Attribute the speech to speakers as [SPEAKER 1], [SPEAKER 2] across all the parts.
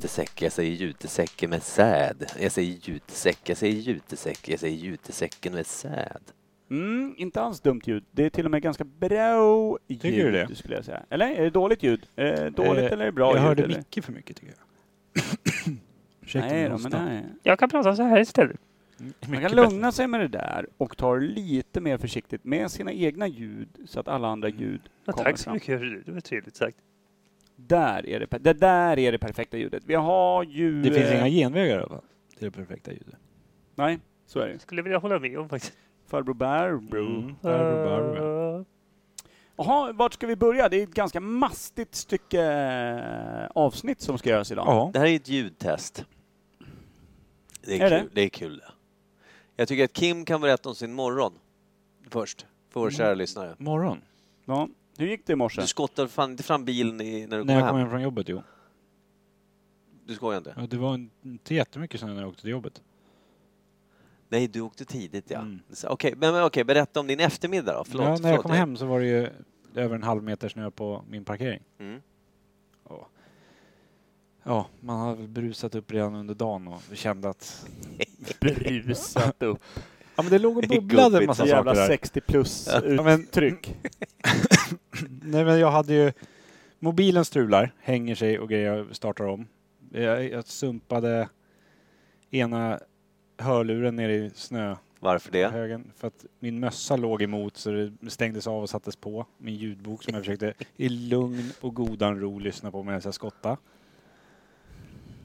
[SPEAKER 1] jutesäck, jag säger jutesäcken med säd. Jag säger jutesäck, jag säger jutesäck, jag säger jutesäcken med säd.
[SPEAKER 2] Mm, inte alls dumt ljud. Det är till och med ganska bra ljud,
[SPEAKER 3] Tycker du det?
[SPEAKER 2] skulle jag säga. Eller är det dåligt ljud? Eh, dåligt
[SPEAKER 3] Eh,
[SPEAKER 2] eller är det bra
[SPEAKER 3] jag
[SPEAKER 2] ljud?
[SPEAKER 3] hörde
[SPEAKER 2] eller?
[SPEAKER 3] Micke för mycket tycker jag. Ursäkta
[SPEAKER 2] Nej,
[SPEAKER 3] min
[SPEAKER 2] då,
[SPEAKER 3] hosta.
[SPEAKER 2] men nej.
[SPEAKER 4] Jag kan prata så här istället.
[SPEAKER 3] Mm,
[SPEAKER 2] Man
[SPEAKER 3] mycket
[SPEAKER 2] kan
[SPEAKER 3] bättre.
[SPEAKER 2] lugna sig med det där och ta det lite mer försiktigt med sina egna ljud så att alla andra
[SPEAKER 3] Mm.
[SPEAKER 2] ljud
[SPEAKER 4] Ja,
[SPEAKER 2] kommer
[SPEAKER 4] tack så
[SPEAKER 2] fram.
[SPEAKER 4] mycket. för det. Det var trevligt sagt.
[SPEAKER 2] Där är det, per- det där är det perfekta ljudet. Vi har ju...
[SPEAKER 3] Det finns
[SPEAKER 2] eh,
[SPEAKER 3] inga genvägar i alla fall. Det är det perfekta ljudet.
[SPEAKER 2] Nej, så är det.
[SPEAKER 4] Skulle jag vilja hålla med om faktiskt.
[SPEAKER 2] Farbror Barbro.
[SPEAKER 3] Mm, Barbro, Barbro.
[SPEAKER 4] Eh,
[SPEAKER 2] Jaha, vart ska vi börja? Det är ett ganska mastigt stycke eh, avsnitt som ska göras idag.
[SPEAKER 3] Ja.
[SPEAKER 1] Det här är ett ljudtest. Det är,
[SPEAKER 2] Är
[SPEAKER 1] kul. Det? är kul det. Jag tycker att Kim kan berätta om sin morgon först, för
[SPEAKER 3] Mm.
[SPEAKER 1] vår kära lyssnare.
[SPEAKER 3] Morgon.
[SPEAKER 2] Ja. Hur gick det i morse?
[SPEAKER 1] Du skottade fan inte fram bilen i, när du kom
[SPEAKER 3] När jag
[SPEAKER 1] hem.
[SPEAKER 3] kom hem från jobbet, jo.
[SPEAKER 1] Du skojar inte?
[SPEAKER 3] Ja, det var en- inte jättemycket snö när jag åkte till jobbet.
[SPEAKER 1] Nej, du åkte tidigt ja.
[SPEAKER 3] Mm.
[SPEAKER 1] Så, Okej, men, men okej, berätta om din eftermiddag då. Förlåt.
[SPEAKER 3] ja, när
[SPEAKER 1] förlåt
[SPEAKER 3] jag kom hem så var det ju över en halv meter snö på min parkering.
[SPEAKER 1] Mm.
[SPEAKER 3] Ja. Ja, man har väl brusat upp redan under dagen och kände att...
[SPEAKER 2] Brusat upp.
[SPEAKER 3] Ja, men det låg och
[SPEAKER 1] Det är
[SPEAKER 3] bubblade en
[SPEAKER 1] gubbigt.
[SPEAKER 3] massa
[SPEAKER 2] Så jävla
[SPEAKER 3] saker där.
[SPEAKER 2] 60 plus
[SPEAKER 3] Ja, men-
[SPEAKER 2] uttryck.
[SPEAKER 3] Nej, men jag hade ju... Mobilen strular, hänger sig och grejer, jag startar om. Jag, jag sumpade ena hörluren ner i snö
[SPEAKER 1] Varför det?
[SPEAKER 3] högen för att min mössa låg emot så det stängdes av och sattes på. Min ljudbok som jag försökte i lugn och godan ro lyssna på medan jag skottade.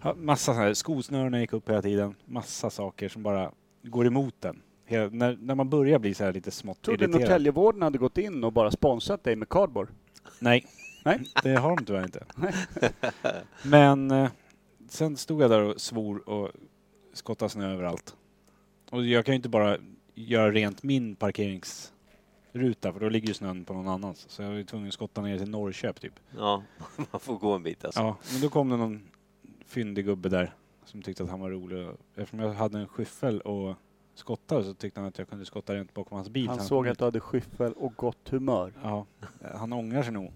[SPEAKER 3] Ja, Massa sådana här, skosnörena gick upp hela tiden. Massa saker som bara går emot den. Hela, när, när man börjar bli så här lite smått
[SPEAKER 2] Trodde
[SPEAKER 3] irriterad.
[SPEAKER 2] Norrtäljevården hade gått in och bara sponsrat dig med cardboard.
[SPEAKER 3] Nej.
[SPEAKER 2] Nej.
[SPEAKER 3] det har de tyvärr inte. Men eh, sen stod jag där och svor och skottade snö överallt. Och jag kan ju inte bara göra rent min parkeringsruta för då ligger ju snön på någon annans. Så jag var ju tvungen att skotta ner till Norrköp typ.
[SPEAKER 1] Ja, man får gå en bit alltså.
[SPEAKER 3] Ja, men då kom det någon fyndig gubbe där som tyckte att han var rolig. Och Eftersom jag hade en skyffel och skottade så tyckte han att jag kunde skotta rent bakom hans bil.
[SPEAKER 2] Han
[SPEAKER 3] Så
[SPEAKER 2] såg att du hade skyffel och gott humör.
[SPEAKER 3] Ja, han ångrar sig nog.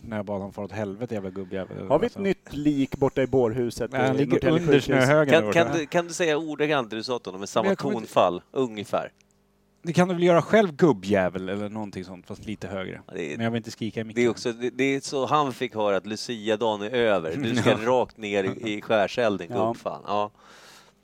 [SPEAKER 3] När jag bad honom fara åt helvete jävla gubbjävel.
[SPEAKER 2] Har vi ett
[SPEAKER 3] Alltså.
[SPEAKER 2] nytt lik borta i bårhuset?
[SPEAKER 3] Nej, han
[SPEAKER 2] i
[SPEAKER 3] ligger
[SPEAKER 2] Norrtälje
[SPEAKER 3] under
[SPEAKER 2] sjukhus?
[SPEAKER 3] snöhögen.
[SPEAKER 1] Kan,
[SPEAKER 3] där
[SPEAKER 1] kan,
[SPEAKER 3] borta.
[SPEAKER 1] du, kan du säga ordagrant det du sa till honom med
[SPEAKER 3] Men
[SPEAKER 1] samma
[SPEAKER 3] jag kommer inte-
[SPEAKER 1] tonfall, ungefär?
[SPEAKER 3] Det kan du väl göra själv gubbjävel eller någonting sånt fast lite högre.
[SPEAKER 1] Ja, Det
[SPEAKER 3] Men
[SPEAKER 1] är,
[SPEAKER 3] jag vill inte skrika i micken.
[SPEAKER 1] det är också det, det är så han fick höra att Lucia-dagen är över. Du ska rakt ner i, i skärselden,
[SPEAKER 2] Ja.
[SPEAKER 1] gubbfan. Ja.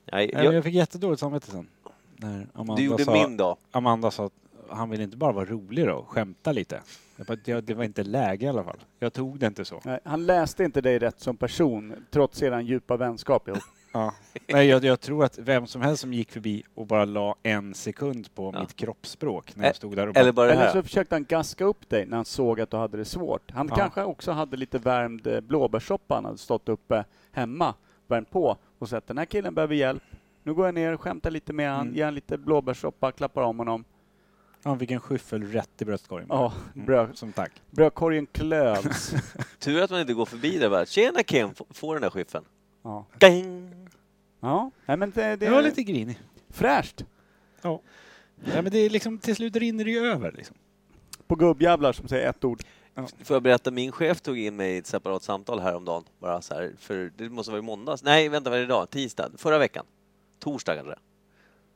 [SPEAKER 1] Nej,
[SPEAKER 3] Nej, men
[SPEAKER 1] jag,
[SPEAKER 3] jag fick jättedåligt samvete sen. När Amanda,
[SPEAKER 1] du gjorde
[SPEAKER 3] sa,
[SPEAKER 1] min dag.
[SPEAKER 3] Amanda sa att han vill inte bara vara rolig då, och skämta lite. Jag bara, "Ja, det var inte läge i alla fall. Jag tog det inte så.
[SPEAKER 2] Nej, han läste inte dig rätt som person, trots er djupa vänskap ihop.
[SPEAKER 3] Ja. Nej, jag, jag tror att vem som helst som gick förbi och bara la en sekund på
[SPEAKER 1] Ja.
[SPEAKER 3] mitt kroppsspråk när
[SPEAKER 1] Ä-
[SPEAKER 3] jag stod där och bara,
[SPEAKER 1] Eller bara det
[SPEAKER 2] Eller
[SPEAKER 1] här.
[SPEAKER 2] så försökte han gaska upp dig när han såg att du hade det svårt. Han
[SPEAKER 3] Ja.
[SPEAKER 2] kanske också hade lite värmd eh, blåbärssoppa han hade stått uppe hemma, värmt på och sett den här killen behöver hjälp. Nu går jag ner och skämtar lite med han,
[SPEAKER 3] Mm.
[SPEAKER 2] ger han lite blåbärssoppa, klappar om honom.
[SPEAKER 3] han fick en skyffel rätt i bröstkorgen.
[SPEAKER 2] Ja,
[SPEAKER 3] Mm,
[SPEAKER 2] brö-
[SPEAKER 3] Som tack.
[SPEAKER 2] brödkorgen klövs.
[SPEAKER 1] Tur att man inte går förbi där bara. Tjena Kim, F- får den där skiffen.
[SPEAKER 2] ja.
[SPEAKER 1] Ding!
[SPEAKER 2] ja, nej men det, det
[SPEAKER 3] Det var
[SPEAKER 2] är
[SPEAKER 3] lite grinig.
[SPEAKER 2] fräscht
[SPEAKER 3] Ja, men det är liksom, till slut rinner det ju över liksom.
[SPEAKER 2] på gubbjävlar som säger ett ord.
[SPEAKER 1] Får jag berätta, min chef tog in mig i ett separat samtal häromdagen. Bara så här, för det måste vara i måndags. Nej, vänta, vad är det idag? Tisdag? Förra veckan? Torsdag kanske? det.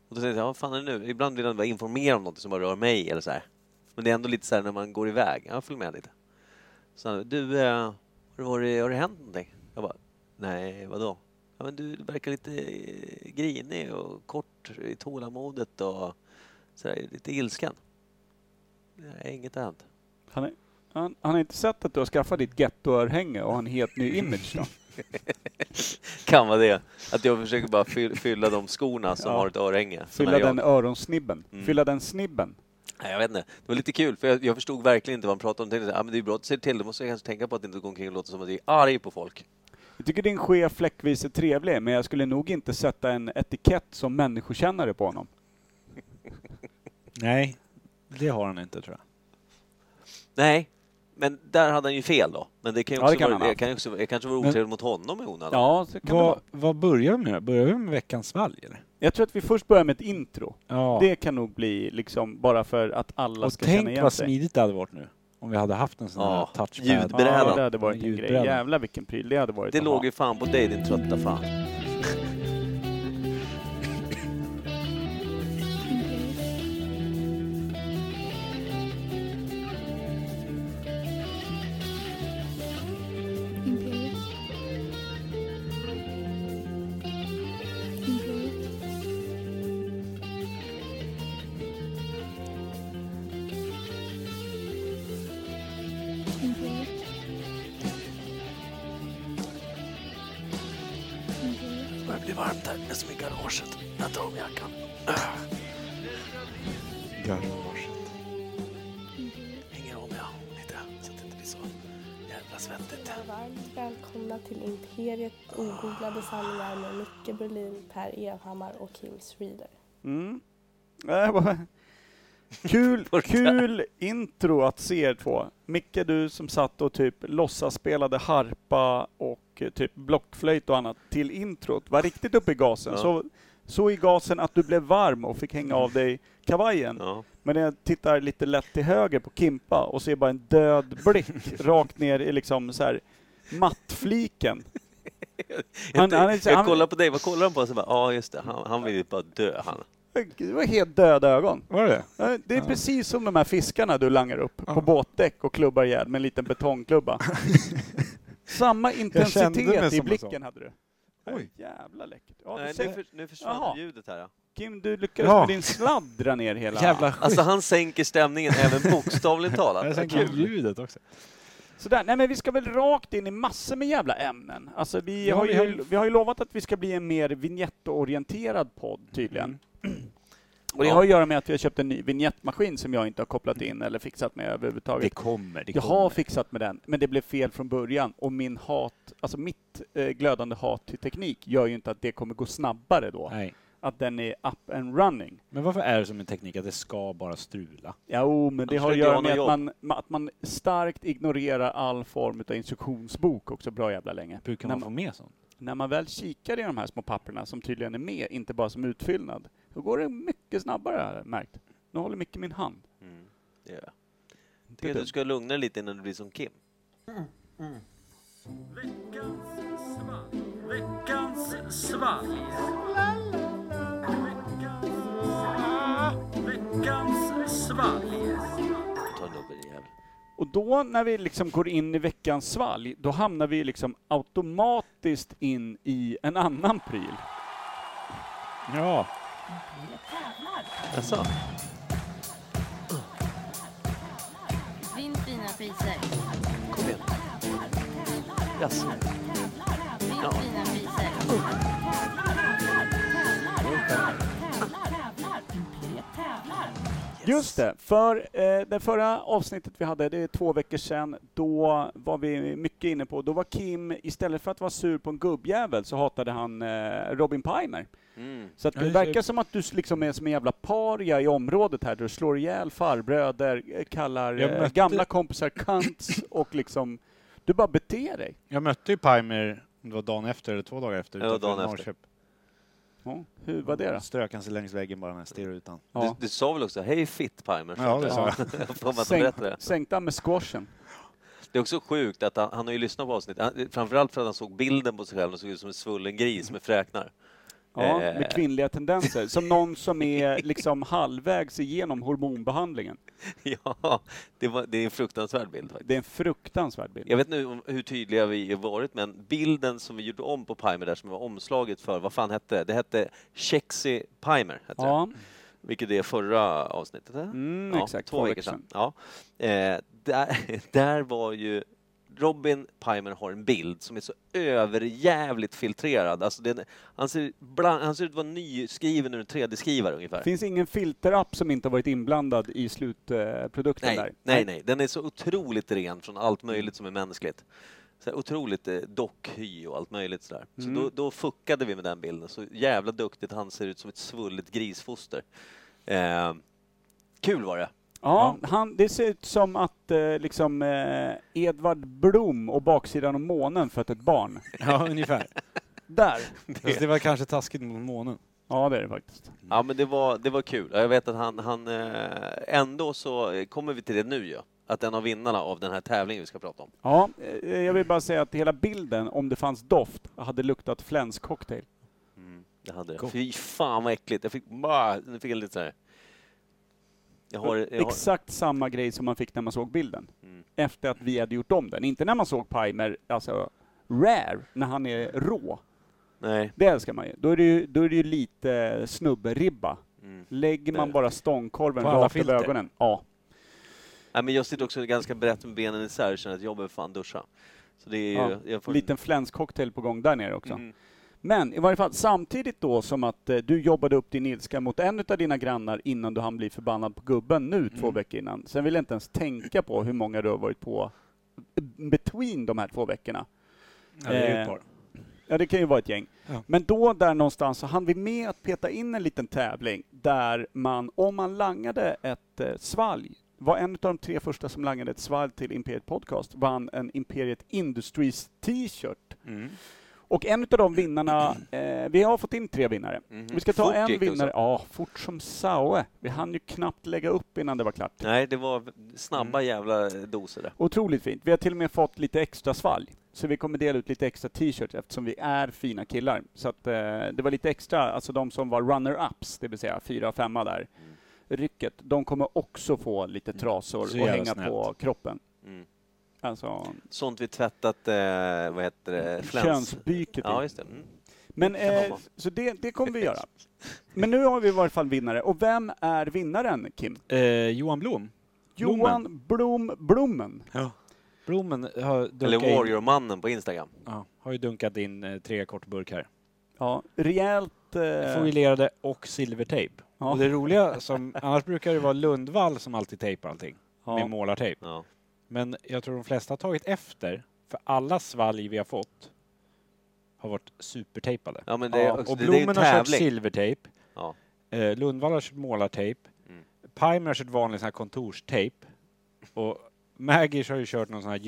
[SPEAKER 1] Och då tänkte jag, vad fan är det nu? Ibland vill han bara informera om något som bara rör mig eller så här. Men det är ändå lite så här när man går iväg. Ja, följ med lite. Så han, du, eh, har det, varit, har det hänt någonting? Jag bara, nej, vadå? Ja, men du verkar lite eh, grinig och kort i tålamodet och så där, lite ilsken. Nej, inget har hänt.
[SPEAKER 2] Han, är, han, han har inte sett att du har skaffat ditt gettoörhänge och en helt ny image då?
[SPEAKER 1] kan vara det. Att jag försöker bara fy- fylla de skorna som
[SPEAKER 2] Ja.
[SPEAKER 1] har ett örhänge. som
[SPEAKER 2] Fylla
[SPEAKER 1] är jag.
[SPEAKER 2] den öronsnibben.
[SPEAKER 1] Mm.
[SPEAKER 2] Fylla den snibben.
[SPEAKER 1] Nej, jag vet inte. Det var lite kul, för jag, jag förstod verkligen inte vad han pratade om. Jag Tänkte, ah, men det är bra att du säger till. Då måste jag kanske tänka på att inte gå omkring och låta som att jag är arg på folk.
[SPEAKER 2] Jag tycker din chef fläckvis är trevlig, men jag skulle nog inte sätta en etikett som människokännare på honom.
[SPEAKER 3] Nej, det har han inte tror jag.
[SPEAKER 1] Nej, men där hade han ju fel då. Men det kan ju
[SPEAKER 2] Ja, det
[SPEAKER 1] också
[SPEAKER 2] kan han
[SPEAKER 1] vara,
[SPEAKER 2] ha.
[SPEAKER 1] jag kan ju också, jag kanske var
[SPEAKER 3] Men-
[SPEAKER 1] otrevlig mot honom i onödan.
[SPEAKER 2] Ja, så kan det vara.
[SPEAKER 3] Vad, vad börjar vi med? Börjar vi med veckans valg eller?
[SPEAKER 2] Jag tror att vi först börjar med ett intro.
[SPEAKER 3] Ja.
[SPEAKER 2] Det kan nog bli liksom bara för att alla
[SPEAKER 3] och
[SPEAKER 2] ska känna
[SPEAKER 3] tänk
[SPEAKER 2] igen
[SPEAKER 3] vad
[SPEAKER 2] sig.
[SPEAKER 3] smidigt det hade varit nu. Om vi hade haft en sån här
[SPEAKER 1] Ja,
[SPEAKER 3] touchpad.
[SPEAKER 1] ljudbräda.
[SPEAKER 2] Ja, det hade varit en grej.
[SPEAKER 3] Ljudbrädan.
[SPEAKER 2] Jävlar vilken pryl det hade varit.
[SPEAKER 1] Det
[SPEAKER 2] att
[SPEAKER 1] låg
[SPEAKER 2] ha.
[SPEAKER 1] ju fan på dig din trötta fan.
[SPEAKER 5] Imperiet. Imperiet. Imperiet. Imperiet.
[SPEAKER 1] Det börjar bli varmt här. Jag smyger garaget. Jag tar om jackan.
[SPEAKER 2] Äh.
[SPEAKER 3] Garaget.
[SPEAKER 5] Imperiet.
[SPEAKER 1] Hänger om jag lite så att det inte blir så jävla svettigt.
[SPEAKER 6] Varmt välkomna till Imperiet ogooglade sanningar med Micke Berlin, Per Evhammar och Kim Schreeder.
[SPEAKER 2] Mm. Nej, vad- Kul, kul intro att se er två. Micke, du som satt och typ låtsasspelade harpa och eh, typ blockflöjt och annat till introt, var riktigt uppe i gasen.
[SPEAKER 1] Ja.
[SPEAKER 2] Så, så i gasen att du blev varm och fick hänga av dig kavajen.
[SPEAKER 1] Ja.
[SPEAKER 2] Men när jag tittar lite lätt till höger på Kimpa och ser bara en död blick rakt ner i liksom så här mattfliken. Han, han, är-
[SPEAKER 1] Jag
[SPEAKER 2] han,
[SPEAKER 1] kollar på dig. Vad kollar han på? Så bara, ja just det. Han, han vill ju bara dö han.
[SPEAKER 2] det var helt döda ögon.
[SPEAKER 3] Var det
[SPEAKER 2] Ja, Det är
[SPEAKER 3] Ja.
[SPEAKER 2] precis som de här fiskarna du langar upp
[SPEAKER 3] Ja.
[SPEAKER 2] på båtdäck och klubbar ihjäl med en liten betongklubba. Samma
[SPEAKER 3] mig
[SPEAKER 2] intensitet i
[SPEAKER 3] som en
[SPEAKER 2] blicken
[SPEAKER 3] sån.
[SPEAKER 2] hade du.
[SPEAKER 3] Oj.
[SPEAKER 2] Jävla läckert. Ja, du
[SPEAKER 1] Nej, nu,
[SPEAKER 2] ser,
[SPEAKER 1] för, nu försvann
[SPEAKER 2] Jaha.
[SPEAKER 1] ljudet här. Ja.
[SPEAKER 2] Kim, du lyckades
[SPEAKER 3] Ja.
[SPEAKER 2] med din sladd dra ner hela...
[SPEAKER 3] Jävla skit.
[SPEAKER 1] Alltså han sänker stämningen även bokstavligt
[SPEAKER 3] jag
[SPEAKER 1] talat. Vad
[SPEAKER 3] sänker
[SPEAKER 1] Kul.
[SPEAKER 3] ljudet också.
[SPEAKER 2] Sådär. Nej men vi ska väl rakt in i massor med jävla ämnen. Alltså vi,
[SPEAKER 3] Ja,
[SPEAKER 2] har,
[SPEAKER 3] vi
[SPEAKER 2] ju,
[SPEAKER 3] har ju-
[SPEAKER 2] vi har ju lovat att vi ska bli en mer vignettorienterad podd tydligen.
[SPEAKER 3] Mm.
[SPEAKER 2] Och det
[SPEAKER 1] Ja.
[SPEAKER 2] har att göra med att vi har köpt en ny vignettmaskin som jag inte har kopplat in eller fixat med överhuvudtaget.
[SPEAKER 3] Det kommer. Det
[SPEAKER 2] Jag
[SPEAKER 3] kommer.
[SPEAKER 2] har fixat med den, men det blev fel från början och min hat, alltså mitt eh, glödande hat till teknik gör ju inte att det kommer gå snabbare då.
[SPEAKER 3] Nej.
[SPEAKER 2] Att den är up and running.
[SPEAKER 3] Men varför är det som en teknik att det ska bara strula?
[SPEAKER 2] Jo, men det
[SPEAKER 1] Annars
[SPEAKER 2] har att
[SPEAKER 1] verkar
[SPEAKER 2] göra
[SPEAKER 1] jag
[SPEAKER 2] med att
[SPEAKER 1] ha
[SPEAKER 2] man, ma- att man starkt ignorerar all form av instruktionsbok också bra jävla länge.
[SPEAKER 3] Brukar
[SPEAKER 2] när,
[SPEAKER 3] man få med sånt?
[SPEAKER 2] när man väl kikar i de här små papperna som tydligen är med, inte bara som utfyllnad, då går det mycket snabbare har jag märkt. Nu håller mycket min hand.
[SPEAKER 1] Mm, det gör jag. Jag tycker att du ska lugna dig lite innan du blir som Kim. Veckans svalg. Veckans svalg. Veckans svalg. Veckans svalg. Ta en uppe din jävel.
[SPEAKER 2] Och då när vi liksom går in i veckans svalg, då hamnar vi liksom automatiskt in i en annan pryl.
[SPEAKER 3] Ja.
[SPEAKER 1] Jaså?
[SPEAKER 7] Vinn fina priser.
[SPEAKER 1] Kom igen. Jaså?
[SPEAKER 7] Vinn fina priser.
[SPEAKER 2] Just det, för eh, det förra avsnittet vi hade, det är två veckor sedan, då var vi mycket inne på, då var Kim, istället för att vara sur på en gubbjävel så hatade han eh, Robin Pimer.
[SPEAKER 1] Mm.
[SPEAKER 2] Så att
[SPEAKER 3] Ja,
[SPEAKER 2] det
[SPEAKER 3] just det.
[SPEAKER 2] verkar som att du s- liksom är som en jävla paria i området här, du slår ihjäl farbröder, eh, kallar
[SPEAKER 3] Jag
[SPEAKER 2] eh,
[SPEAKER 3] mötte-
[SPEAKER 2] gamla kompisar cunts och liksom, du bara beter dig.
[SPEAKER 3] Jag mötte ju Pimer, om det var dagen efter eller två dagar efter.
[SPEAKER 1] Ja, det var
[SPEAKER 3] utanför
[SPEAKER 1] dagen efter.
[SPEAKER 3] Norrköp.
[SPEAKER 2] Ja, hur var det då?
[SPEAKER 3] Strök han sig längs väggen bara när jag stirrade ut han.
[SPEAKER 2] Ja.
[SPEAKER 1] Du, du sa väl också hej fittpimer?
[SPEAKER 3] Ja, det sa
[SPEAKER 1] jag. Jag får bara att
[SPEAKER 2] Sänk,
[SPEAKER 1] berätta det.
[SPEAKER 2] sänkte han med squashen.
[SPEAKER 1] Det är också sjukt att han, han har ju lyssnat på avsnitt. Han, framförallt för att han såg bilden på sig själv och såg ut som en svullen gris med fräknar.
[SPEAKER 2] Ja,
[SPEAKER 1] Eh.
[SPEAKER 2] med kvinnliga tendenser. Som någon som är liksom halvvägs igenom hormonbehandlingen.
[SPEAKER 1] Ja, det, var, det är en fruktansvärd bild faktiskt.
[SPEAKER 2] Det är en fruktansvärd bild.
[SPEAKER 1] Jag vet nu om hur tydliga vi har varit, men bilden som vi gjorde om på Pimer där, som var omslaget för, vad fan hette det? Det hette Chexy Pimer, hette det.
[SPEAKER 2] Ja,
[SPEAKER 1] vilket är förra avsnittet. eller?
[SPEAKER 2] mm,
[SPEAKER 1] ja,
[SPEAKER 2] exakt.
[SPEAKER 1] två veckor sedan. Ja. Eh, där, där var ju Robin Pimer har en bild som är så överjävligt filtrerad. Alltså den, han, ser bland, han ser ut att vara nyskriven ur en 3D-skrivare ungefär.
[SPEAKER 2] Det finns ingen filterapp som inte har varit inblandad i slutprodukten
[SPEAKER 1] Nej,
[SPEAKER 2] där.
[SPEAKER 1] nej, nej. Den är så otroligt ren från allt möjligt som är mänskligt. Så här, otroligt eh, dockhy och allt möjligt sådär.
[SPEAKER 2] Mm.
[SPEAKER 1] Så då, då fuckade vi med den bilden. Så jävla duktigt han ser ut som ett svullet grisfoster. Eh, kul var det.
[SPEAKER 2] Ja, han, det ser ut som att eh, liksom eh, Edvard Blom och baksidan av månen fött ett barn.
[SPEAKER 3] Ja, ungefär.
[SPEAKER 2] Där!
[SPEAKER 3] Fast det var kanske taskigt mot månen.
[SPEAKER 2] Ja, det är det faktiskt.
[SPEAKER 1] Ja men det var, det var kul. Ja, Jag vet att han, han eh, ändå så eh, kommer vi till det nu ju. att en av vinnarna av den här tävlingen vi ska prata om.
[SPEAKER 2] Ja, eh, jag vill bara säga att hela bilden, om det fanns doft, hade luktat flänscocktail.
[SPEAKER 3] Mm.
[SPEAKER 1] Det hade det.
[SPEAKER 3] Gott.
[SPEAKER 1] Fy fan vad äckligt. Jag fick, bah, nu fick jag lite så här. Jag har, jag har,
[SPEAKER 2] Exakt samma grej som man fick när man såg bilden.
[SPEAKER 1] Mm.
[SPEAKER 2] Efter att vi hade gjort om den. Inte när man såg Pimer, alltså rare, när han är rå.
[SPEAKER 1] nej.
[SPEAKER 2] Det älskar man ju. Då är det ju, då är det ju lite snubberibba.
[SPEAKER 1] Mm.
[SPEAKER 2] Lägger
[SPEAKER 1] Det är
[SPEAKER 2] man
[SPEAKER 1] det.
[SPEAKER 2] bara stångkorven
[SPEAKER 3] På alla
[SPEAKER 2] rakt över
[SPEAKER 3] filter.
[SPEAKER 2] ögonen. Ja.
[SPEAKER 1] nej men jag sitter också ganska brett med benen isär och känner att jag behöver fan duscha. Så det är ju...
[SPEAKER 2] ja.
[SPEAKER 1] jag får-
[SPEAKER 2] Liten flänscocktail på gång där nere också.
[SPEAKER 1] Mm.
[SPEAKER 2] Men i varje fall, samtidigt då som att eh, du jobbade upp din ilska mot en av dina grannar innan du hann bli förbannad på gubben nu två veckor innan. Sen vill jag inte ens tänka på hur många du har varit på eh, between de här två veckorna.
[SPEAKER 3] Ja, det är ju
[SPEAKER 2] Eh,
[SPEAKER 3] ett par.
[SPEAKER 2] Ja, det kan ju vara ett gäng.
[SPEAKER 3] Ja.
[SPEAKER 2] Men då där någonstans så hann vi med att peta in en liten tävling där man, om man langade ett eh, svalg, var en av de tre första som langade ett svalg till Imperiet Podcast, vann en Imperiet Industries t-shirt.
[SPEAKER 3] Mm.
[SPEAKER 2] Och en av de vinnarna, eh, vi har fått in tre vinnare.
[SPEAKER 3] Mm.
[SPEAKER 1] Mhm.
[SPEAKER 2] Vi ska ta
[SPEAKER 1] Fort
[SPEAKER 2] en
[SPEAKER 1] gick det alltså. också.
[SPEAKER 2] vinnare, ja, fort som saue. Vi hann ju knappt lägga upp innan det var klart.
[SPEAKER 1] Nej, det var snabba jävla doser där.
[SPEAKER 2] Otroligt fint. Vi har till och med fått lite extra svalg. Så vi kommer dela ut lite extra t-shirts eftersom vi är fina killar. Så att, eh, det var lite extra, alltså de som var runner-ups, det vill säga fyra och femma där,
[SPEAKER 1] Mm.
[SPEAKER 2] rycket, de kommer också få lite trasor
[SPEAKER 3] Så
[SPEAKER 2] och
[SPEAKER 3] jävla
[SPEAKER 2] hänga
[SPEAKER 3] snällt.
[SPEAKER 2] på kroppen.
[SPEAKER 1] Mm.
[SPEAKER 2] Alltså,
[SPEAKER 1] Sånt vi tvättat, eh, vad heter det, fläns.
[SPEAKER 2] könsbyket.
[SPEAKER 1] Ja, just det. Mm.
[SPEAKER 2] Men,
[SPEAKER 1] kan man
[SPEAKER 2] eh,
[SPEAKER 1] vara.
[SPEAKER 2] så det, det kommer vi göra. Men nu har vi i varje fall vinnare. Och vem är vinnaren, Kim?
[SPEAKER 3] Eh, Johan Blom. Blommen.
[SPEAKER 2] Johan Blom Blommen.
[SPEAKER 3] Blommen har,
[SPEAKER 1] Eller
[SPEAKER 3] dunkat in,
[SPEAKER 1] Warrior-mannen på Instagram.
[SPEAKER 3] ja, har ju dunkat in eh, tre kortburkar.
[SPEAKER 2] Ja, rejält... Eh,
[SPEAKER 3] Foilerade och silvertejp.
[SPEAKER 2] Ja.
[SPEAKER 3] Och det roliga som, annars brukar det vara Lundvall som alltid tejpar allting
[SPEAKER 2] ja.
[SPEAKER 3] med målartejp.
[SPEAKER 1] Ja.
[SPEAKER 3] Men jag tror de flesta har tagit efter, för alla svalg vi har fått har varit supertejpade.
[SPEAKER 1] Ja, men det, är
[SPEAKER 2] Ja,
[SPEAKER 1] också,
[SPEAKER 3] och
[SPEAKER 1] det, det är ju
[SPEAKER 3] Blommen har
[SPEAKER 1] en
[SPEAKER 3] kört
[SPEAKER 1] tävling.
[SPEAKER 3] silvertejp.
[SPEAKER 1] Ja.
[SPEAKER 3] Eh, Lundvall har kört målartejp.
[SPEAKER 1] Mm.
[SPEAKER 3] Pimer har kört vanlig sån här kontorstejp. Och Maggish har ju kört någon sån här